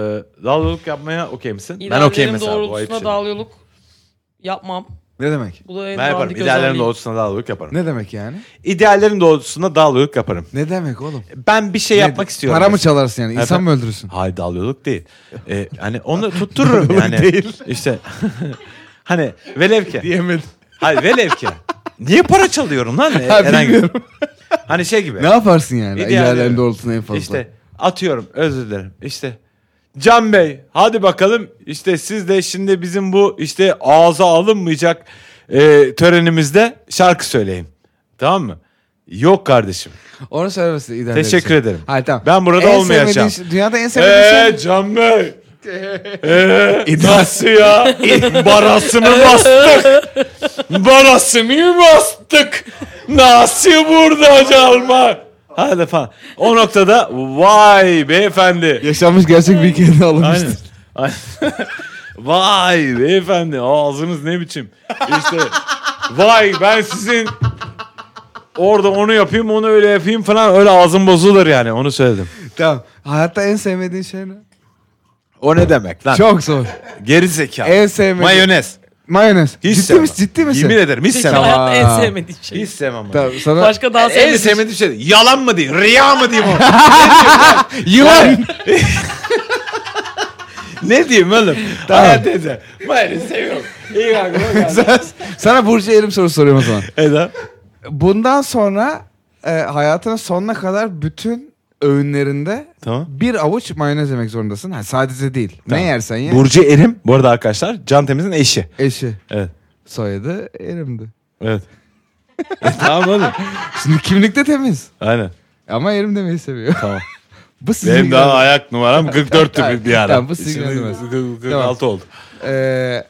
dallılık yapmaya okey misin? ben İdeallerim okeyim mesela. bu ayıp doğrultusuna şey. dağılıyorluk yapmam. Ne demek? Bu da en Ben yaparım. dandik İdeallerin özelliğim. doğrultusunda dallılık yaparım. Ne demek yani? İdeallerin doğrultusunda dallılık yaparım. Ne demek oğlum? Ben bir şey yapmak Ne- istiyorum. Para mı mesela. çalarsın yani? İnsan Efendim? mı öldürürsün? Hayır dallılık değil. Ee, hani onu tuttururum yani. İşte hani velev ki. Diyemedim. Hayır velev ki. Niye para çalıyorum lan? Ee, Ha, Herhangi- bilmiyorum. Hani şey gibi. Ne yaparsın yani? İdeal İdeallerin yani. doğrultusunda en fazla. İşte atıyorum özür dilerim. İşte Can Bey hadi bakalım işte siz de şimdi bizim bu işte ağza alınmayacak e, törenimizde şarkı söyleyin. Tamam mı? Yok kardeşim. Onu söylemesi ideal. Teşekkür edilsin. ederim. şey. Hayır tamam. Ben burada en olmayacağım. sevmediğin şey- Dünyada en sevmediğin şey. Eee Ee, Can Bey. Eee nasıl ya? Barasını bastık. Barasını bastık. Nasıl burada çalma? Hadi falan. O noktada vay beyefendi. Yaşanmış gerçek bir hikayeden alınmıştır. Aynen. Aynen. Vay beyefendi ağzınız ne biçim. İşte vay ben sizin orada onu yapayım onu öyle yapayım falan öyle ağzım bozulur yani onu söyledim. Tamam. Hayatta en sevmediğin şey ne? O ne demek lan? Çok zor. Geri zeka. En sevmediğim- Mayonez. Mayonez. Hiç ciddi sevmem. misin? Ciddi misin? Yemin ederim hiç Peki sevmem. hayatta Aa. en sevmediğim şey. Hiç sevmem. Tamam sana Başka daha En sevmediğim şey. sevmediğim şey yalan mı diyeyim, riya mı diyeyim oğlum? yılan. ne diyeyim oğlum? Hayat teyze. Mayonez seviyorum. İyi kanka. bak abi. sana Burcu Erim soru soruyorum o zaman. Eda. Bundan sonra e, hayatının sonuna kadar bütün öğünlerinde Tamam. bir avuç mayonez yemek zorundasın. Ha, sadece değil. Tamam. Ne yersen ye. Burcu Erim bu arada arkadaşlar Can Temiz'in eşi. Eşi. Evet. Soyadı Erim'di. Evet. tamam oğlum. Şimdi kimlikte temiz. Aynen. Ama Erim demeyi seviyor. Tamam. bu sizin Benim daha ilgilen- ayak numaram 44'tü bir- bir ara. Tamam, bu sizi ilgilendirmez. 46 oldu. E,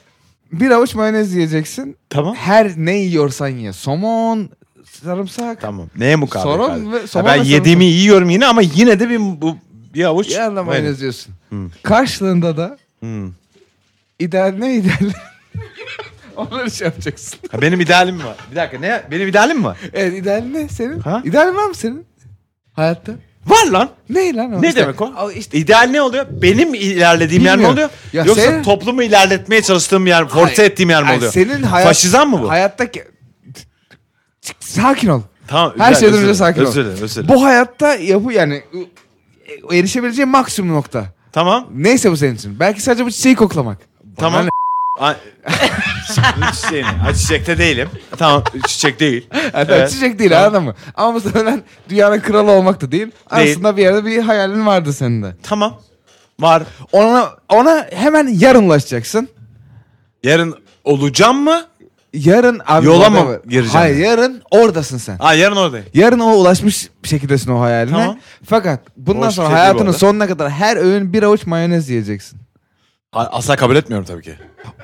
bir avuç mayonez yiyeceksin. Tamam. Her ne yiyorsan ye. Somon, sarımsak. Tamam. Neye mukabil? Soron kardeşim? ve- Ha, somon ben ve yediğimi yiyorum yine ama yine de bir bu bir avuç. Yerle Aynen. mayonez yiyorsun. Karşılığında da Hmm. İdeal ne ideal? Onları şey yapacaksın. Ha, benim idealim var. Bir dakika ne? Benim idealim var. Evet ideal ne senin? Ha? İdeal var mı senin? Hayatta. Var lan. Ne lan o? Ne İşte- demek o? Al işte İdeal ne oluyor? Benim ilerlediğim yer mi Bilmiyorum. oluyor? Ya Yoksa sen- toplumu ilerletmeye çalıştığım yer, force Ay- ettiğim yer mi ay oluyor? Senin hayat, Faşizan mı bu? Hayattaki... Sakin ol. Tamam. Her güzel, şeyden özür dilerim, önce sakin ol. Özür dilerim, özür dilerim. Bu hayatta yapı yani e, erişebileceğin maksimum nokta. Tamam. Neyse bu senin için. Belki sadece bu çiçeği koklamak. Tamam. A- Çiçeğini. Ha, çiçekte değilim. Tamam çiçek değil. Yani Evet. Çiçek değil anladın mı? Ama muhtemelen dünyanın kralı olmak da değil. Aslında bir yerde bir hayalin vardı senin de. Tamam. Var. Ona, ona hemen yarınlaşacaksın. Yarın olacağım mı? Yarın abi Yola orada- mı gireceğim? Hayır yarın oradasın sen. Ha yarın oradayım. Yarın o ulaşmış bir şekildesin o hayaline. Tamam. Fakat bundan Hoş sonra bir şey değil bu hayatının arada. sonuna kadar her öğün bir avuç mayonez yiyeceksin. Ha, asla kabul etmiyorum tabii ki.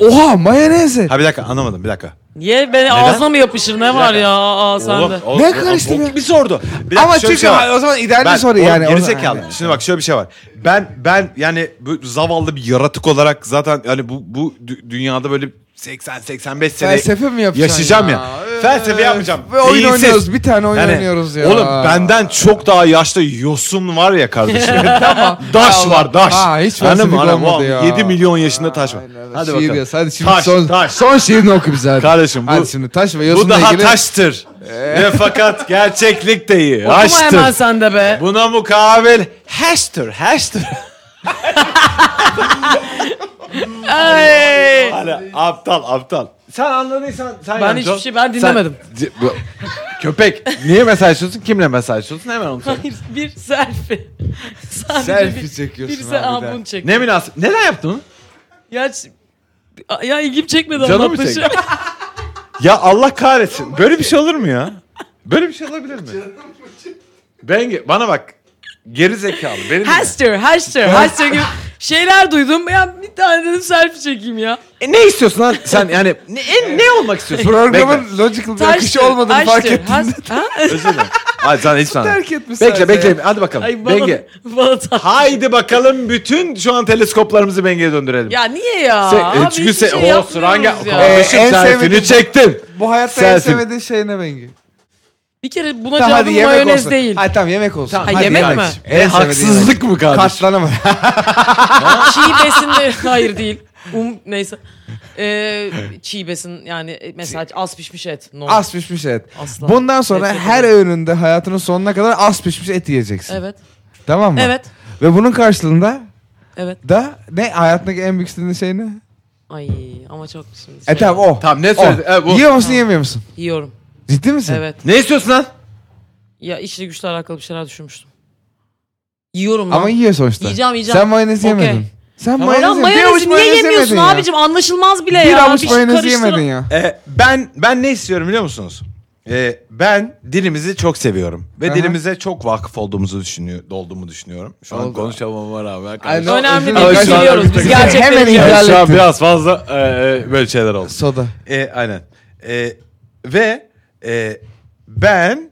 Oha mayonezi. Ha bir dakika anlamadım bir dakika. Niye beni ağzına mı yapışır ne var ya aa sende. Ne karıştı be? gibi sordu. Bir dakika, Ama şöyle bir çünkü şey var. o zaman ideal ben, bir soru oğlum, yani. Gerizekalı. Yani. Şimdi bak şöyle bir şey var. Ben ben yani bu zavallı bir yaratık olarak zaten yani bu bu dü- dünyada böyle 80 85 sene Felsefe mi yapacaksın yaşayacağım ya. ya? Felsefe Ee, yapmayacağım. ve oyun Beyinsiz. oynuyoruz, bir tane oyun oynuyoruz ya. Oğlum benden çok daha yaşlı yosun var ya kardeşim. tamam. Daş Allah. var daş. Ha, hiç Anladın mı? felsefik Anam, olmadı oğlum, ya. 7 milyon yaşında taş var. Hadi Şiir bakalım. yaz. Hadi şimdi taş, son, taş. son şiirini oku bize hadi. Kardeşim bu- Hadi şimdi taş ve Bu yosunla daha ilgili. Ee? taştır. Ve fakat gerçeklik de iyi. Okuma Aştır. hemen sende be. Buna mukabil haştır, haştır. Ay. Hala aptal, aptal. Sen anladıysan sen Ben hiçbir şey ben dinlemedim. Köpek. Niye mesajlıyorsun? Kimle mesajlıyorsun? Hemen onu söyle. Hayır bir selfie. Sadece Selfie bir- çekiyorsun Bir abi selfie de. bunu çek. Ne münasip? Neden yaptın onu? Ya, ç- ya ilgim çekmedi şey. Canım mı anlatmışım. çekti? Ya Allah kahretsin. Böyle bir şey olur mu ya? Böyle bir şey olabilir mi? ben bana bak. Geri zekalı. Beni dinle. Haster, haster, haster gibi şeyler duydum. Ya bir tane dedim selfie çekeyim ya. E, ne istiyorsun lan sen yani? Ne, en- ne olmak istiyorsun? Bekle. Programın logical bir akışı Taştır, olmadığını fark haştır, ettin. has- ha? Özür dilerim. Hadi sen hiç sana. Terk etmişsin. Bekle bekle. Hadi bakalım. Ay bana, Benge. bana ta- Haydi bakalım bütün şu an teleskoplarımızı Benge'ye döndürelim. Ya niye ya? e, Se- e, Abi çünkü hiçbir se- şey o sıran gel. yapmıyoruz ya. Ee, Kardeşim en selfie'ni sevmediğim- çektin. Bu hayatta en Selfie. sevmediğin şey ne Bengi? Bir kere buna cevabım mayonez değil. Hayır tamam yemek olsun. Ha, yemek mi? E, haksızlık mı kardeşim? Katlanamam. Çiğ besinle hayır değil. Um, neyse. Ee, çiğ besin yani e, mesela az pişmiş et. No. az pişmiş et. Asla. Bundan sonra Nefret her ederim. öğününde hayatının sonuna kadar az pişmiş et yiyeceksin. Evet. Tamam mı? Evet. Ve bunun karşılığında Evet. da ne hayatındaki en büyük istediğin şey ne? Ay ama çok şimdi. E tamam o. Tamam ne O. söyledi? E, bu. Yiyor musun yemiyor musun? Yiyorum. Ciddi misin? Evet. Ne istiyorsun lan? Ya işle güçle alakalı bir şeyler düşünmüştüm. Yiyorum lan. Ama yiyor sonuçta. Yiyeceğim, yiyeceğim. Sen mayonez Okey. yemedin. Sen Lan mayonez, yemedin. Bir avuç mayonezi niye mayonez yemiyorsun yemedin ya. abicim? Anlaşılmaz bile ya. Bir avuç şey mayonez karıştırın. yemedin ya. E, ben ben ne istiyorum biliyor musunuz? E, ben dilimizi çok seviyorum ve Aha. dilimize çok vakıf olduğumuzu düşünüyor, olduğumu düşünüyorum. Şu an Oldu. konuşamamama rağmen Ay, arkadaşlar. no, Önemli üzülme. değil, Ay, şu an- biliyoruz, biz gerçekleri Hemen biliyoruz. ihlal şu an ettin. biraz fazla e, e, böyle şeyler oldu. Soda. E, aynen. E, ve e, ben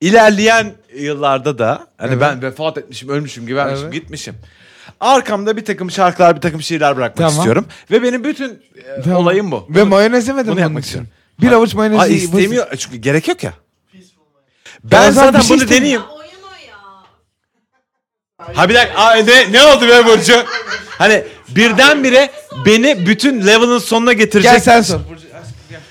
ilerleyen yıllarda da hani Evet. ben vefat etmişim, ölmüşüm, gebermişim, Evet. gitmişim. Arkamda bir takım şarkılar, bir takım şiirler bırakmak Tamam. istiyorum. Ve benim bütün e, Tamam. olayım bu. Ve mayonez yemedin bunu bunun yapmak için. istiyorum. Bir avuç mayonez Ay yiyip- istemiyor çünkü gerek yok ya. Ben Ya zaten zaten bir şey bunu istemiyor. deneyeyim. oyun o ya. Ha bir dakika Aa, ne, ne oldu be Burcu? Hani birdenbire beni bütün level'ın sonuna getirecek. Gel sen sor.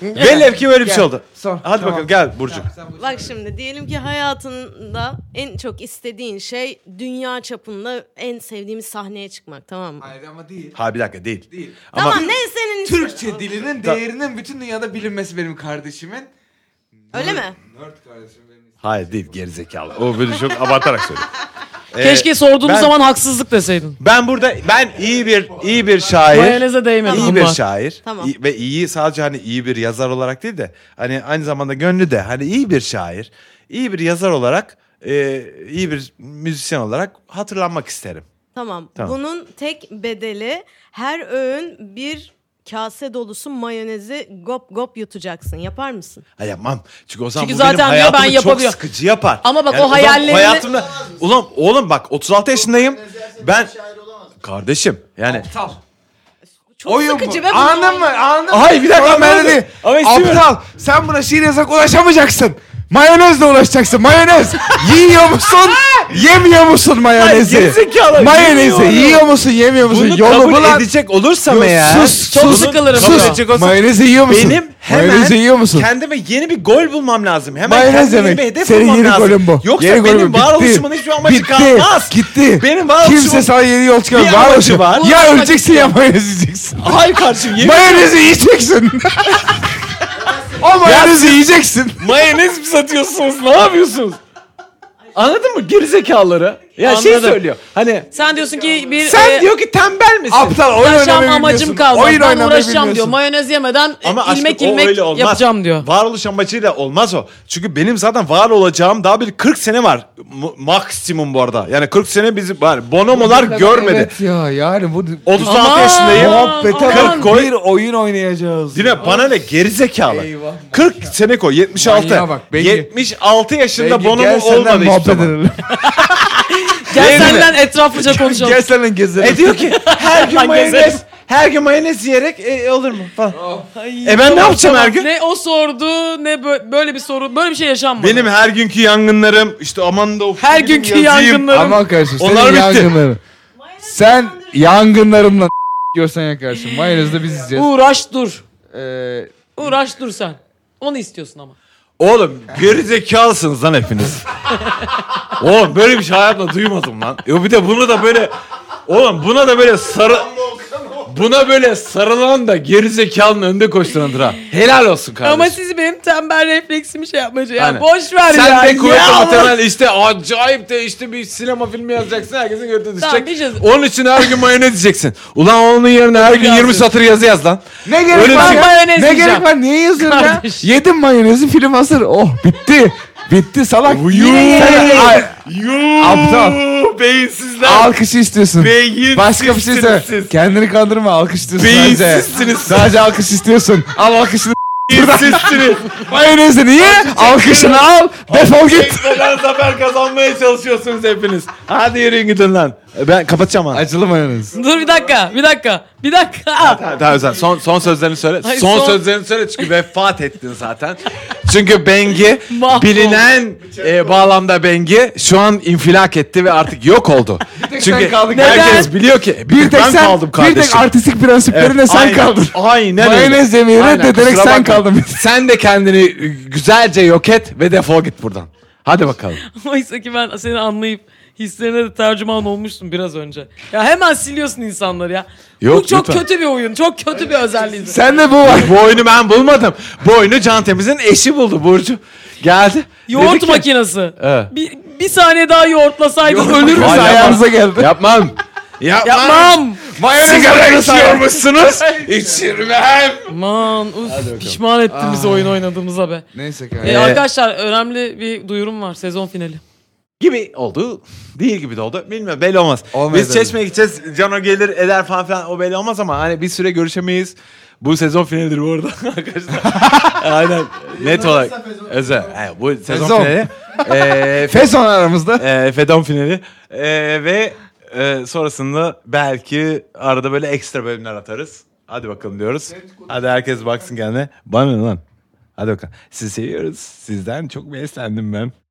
Velev ki böyle bir Gel. şey oldu. Sor. Hadi Tamam. bakalım gel Burcu. Bak şimdi diyelim ki hayatında en çok istediğin şey dünya çapında en sevdiğimiz sahneye çıkmak tamam mı? Hayır ama değil. Ha bir dakika değil. Ama Tamam ne senin Türkçe dilinin değerinin bütün dünyada bilinmesi benim kardeşimin. Öyle mi? Nerd kardeşim benim. Hayır değil gerizekalı. O böyle çok abartarak söylüyor. Ee, Keşke sorduğumuz ben- zaman haksızlık deseydin. ben burada ben iyi bir iyi bir şair. Mayoneze değmedi. iyi ama. E? bir şey. şair. Tamam. İyi- ve iyi sadece hani iyi bir yazar olarak değil de hani aynı zamanda gönlü de hani iyi bir şair. iyi bir yazar olarak e, iyi bir müzisyen olarak hatırlanmak isterim. Tamam. Tamam. Bunun tek bedeli her öğün bir kase dolusu mayonezi gop gop yutacaksın. Yapar mısın? Ha yapmam. Çünkü o zaman Çünkü bu benim zaten diyor, ben hayatımı çok yapabiliyorum. sıkıcı yapar. Ama bak o zaman hayallerini- Hayatımda... Ulan oğlum bak 36 yaşındayım. Ben... Kardeşim yani... Aptal. Çok Oyun sıkıcı bu. be bu. Anladın mı? Anladın mı? Hayır bir dakika Sonra ben böyle de değil. Ama istiyorum. Aptal sen buna şiir yasak ulaşamayacaksın. Mayonezle ulaşacaksın. Mayonez. Yiyor musun? yemiyor musun mayonezi? Lan gerizekalı, Mayonezi. yiyor. Yiyor musun? Yemiyor musun? Bunu Yolu kabul bulan- edecek olursam Yo, eğer. sus, Çok Bunu sıkılırım kabul ya. edecek olsam- Mayonezi yiyor musun? Benim hemen Mayonezi yiyor musun? kendime yeni bir gol bulmam lazım. Hemen Mayonez kendime yemek. yeni bir hedef Senin bulmam yeni lazım. golün bu. Yoksa Yeni golün benim bu. varoluşumun hiçbir amacı Bitti. kalmaz. Gitti. Benim varoluşumun... Kimse sana yeni yol Bir çıkarmıyor. amacı Varoluşum. var. Ya öleceksin ya mayonez yiyeceksin. Hayır kardeşim yemin Mayonezi yiyeceksin. o mayonezi yiyeceksin. Mayonez mi satıyorsunuz? Ne yapıyorsunuz? Anladın mı gerizekalıları? Ya şey Anladım. söylüyor. Hani Sen diyorsun ki bir sen e, diyor ki tembel misin? Aptal oyun yaşam oynamayı amacım bilmiyorsun. kalmadı. Oyun ben oynamayı uğraşacağım diyor. bilmiyorsun. Mayonez yemeden e, Ama ilmek aşkım, o ilmek öyle olmaz. yapacağım diyor. Varoluş amacıyla olmaz o. Çünkü benim zaten var olacağım daha bir 40 sene var. M- maksimum bu arada. Yani 40 sene bizi yani bonomolar görmedi. Evet ya yani bu 36 Aman, yaşındayım. muhabbete aman. bak, 40 koy. bir oyun oynayacağız. Dine bana ne gerizekalı. Eyvah. 40 sene koy 76. Manyağa bak, Bengi. 76 yaşında Sevgi, bonomo gel senden olmadı hiçbir muhabbet zaman. edelim. Gel Değil mi? senden etraflıca konuşalım. Gel senden gezelim. E diyor ki her gün Lan mayonez gezerim. her gün mayonez yiyerek e, olur mu falan. Ay, E ben ne yapacağım her gün? Ne o sordu ne bö- böyle bir soru böyle bir şey yaşanmadı. Benim her günkü yangınlarım işte aman da of. Her benim günkü yazayım. yangınlarım. Aman kardeşim Onlar senin bitti. yangınların. Sen yangınlarımla diyorsan ya kardeşim. Mayonezle biz yiyeceğiz. Uğraş dur. Ee, Uğraş dur sen. Onu istiyorsun ama. Oğlum geri zekalısınız lan hepiniz. Oğlum böyle bir şey hayatımda duymadım lan. Yo bir de bunu da böyle Oğlum buna da böyle sarı Buna böyle sarılan da geri zekalının önünde koşturandır ha. Helal olsun kardeşim. Ama siz benim tembel refleksimi şey yapmacı. Ya Aynen. boş ver ya. Sen de kuvvetli Ya Allah. muhtemel işte acayip de işte bir sinema filmi yazacaksın herkesin götüne Tamam, düşecek. bir şey- Onun için her gün mayonez diyeceksin. Ulan onun yerine her gün 20 Yazsın. satır yazı yaz lan. ne gerek Öyle var bir ya? şey- Mayonez Ne yiyeceğim. gerek var? Niye yazıyorum ya? Kardeş. Yedim mayonezi film hazır. Oh bitti. Bitti salak. Yine yedin. Ay, Yuuu. Aptal. Beyinsizler. Alkışı istiyorsun. Beyinsizsiniz Başka bir şey söyle. siz. Kendini kandırma alkış istiyorsun sadece. Beyinsizsiniz siz. Sadece alkış istiyorsun. Al alkışını. Beyinsizsiniz. Mayonezi niye? Alkışını al. E, Defol git. Neden zafer kazanmaya çalışıyorsunuz hepiniz? Hadi yürüyün gidin lan. E, Ben kapatacağım ha. Acılı mayonez. Dur bir dakika bir dakika bir dakika. Daha özel. Son, son sözlerini söyle. Hayır, son, son- sözlerini söyle çünkü vefat ettin zaten. çünkü Bengi Mahvoldu. bilinen e, bağlamda Bengi şu an infilak etti ve artık yok oldu. tek sen çünkü kaldın. herkes Neden? biliyor ki Bir tek ben sen, kaldım bir kardeşim. tek artistik prensiplerine Evet, sen aynen, kaldın. Aynen öyle. Mayonez yemeği Aynen, reddederek kusura sen bakma. kaldın. Sen de kendini e, güzelce yok et ve defol git buradan. Hadi bakalım. Oysa ki ben seni anlayıp hislerine de tercüman olmuşsun biraz önce. Ya hemen siliyorsun insanları ya. Yok, Bu çok lütfen. kötü bir oyun. Çok kötü bir özelliği. Sen de bu var. Bu oyunu ben bulmadım. Bu oyunu Can Temiz'in eşi buldu Burcu. Geldi. Yoğurt Dedi ki- makinesi. Evet. Bir, bir saniye daha yoğurtlasaydın Yoğurt ölür Ölür makinesi. müsün Vay, ayağınıza geldi? Yapmam. Yapmam. Yapmam. Sigara içiyormuşsunuz. İçirmem. Aman uf, pişman ettin bizi oyun oynadığımıza be. Neyse Ee, kardeşim. arkadaşlar önemli bir duyurum var sezon finali. Gibi oldu. Değil gibi de oldu. Bilmiyorum belli olmaz. Olmaz Biz öyle. Çeşme'ye gideceğiz. Cano gelir eder falan filan. O belli olmaz ama hani bir süre görüşemeyiz. Bu sezon finalidir bu arada arkadaşlar. Aynen. Net olarak. Özel. Yani bu sezon, Sezon. finali. Ee, Fezon aramızda. e, Fedon finali E, ve e, sonrasında belki arada böyle ekstra bölümler atarız. Hadi bakalım diyoruz. Hadi herkes baksın kendine. Bana ne lan? Hadi bakalım. Sizi seviyoruz. Sizden çok beslendim ben.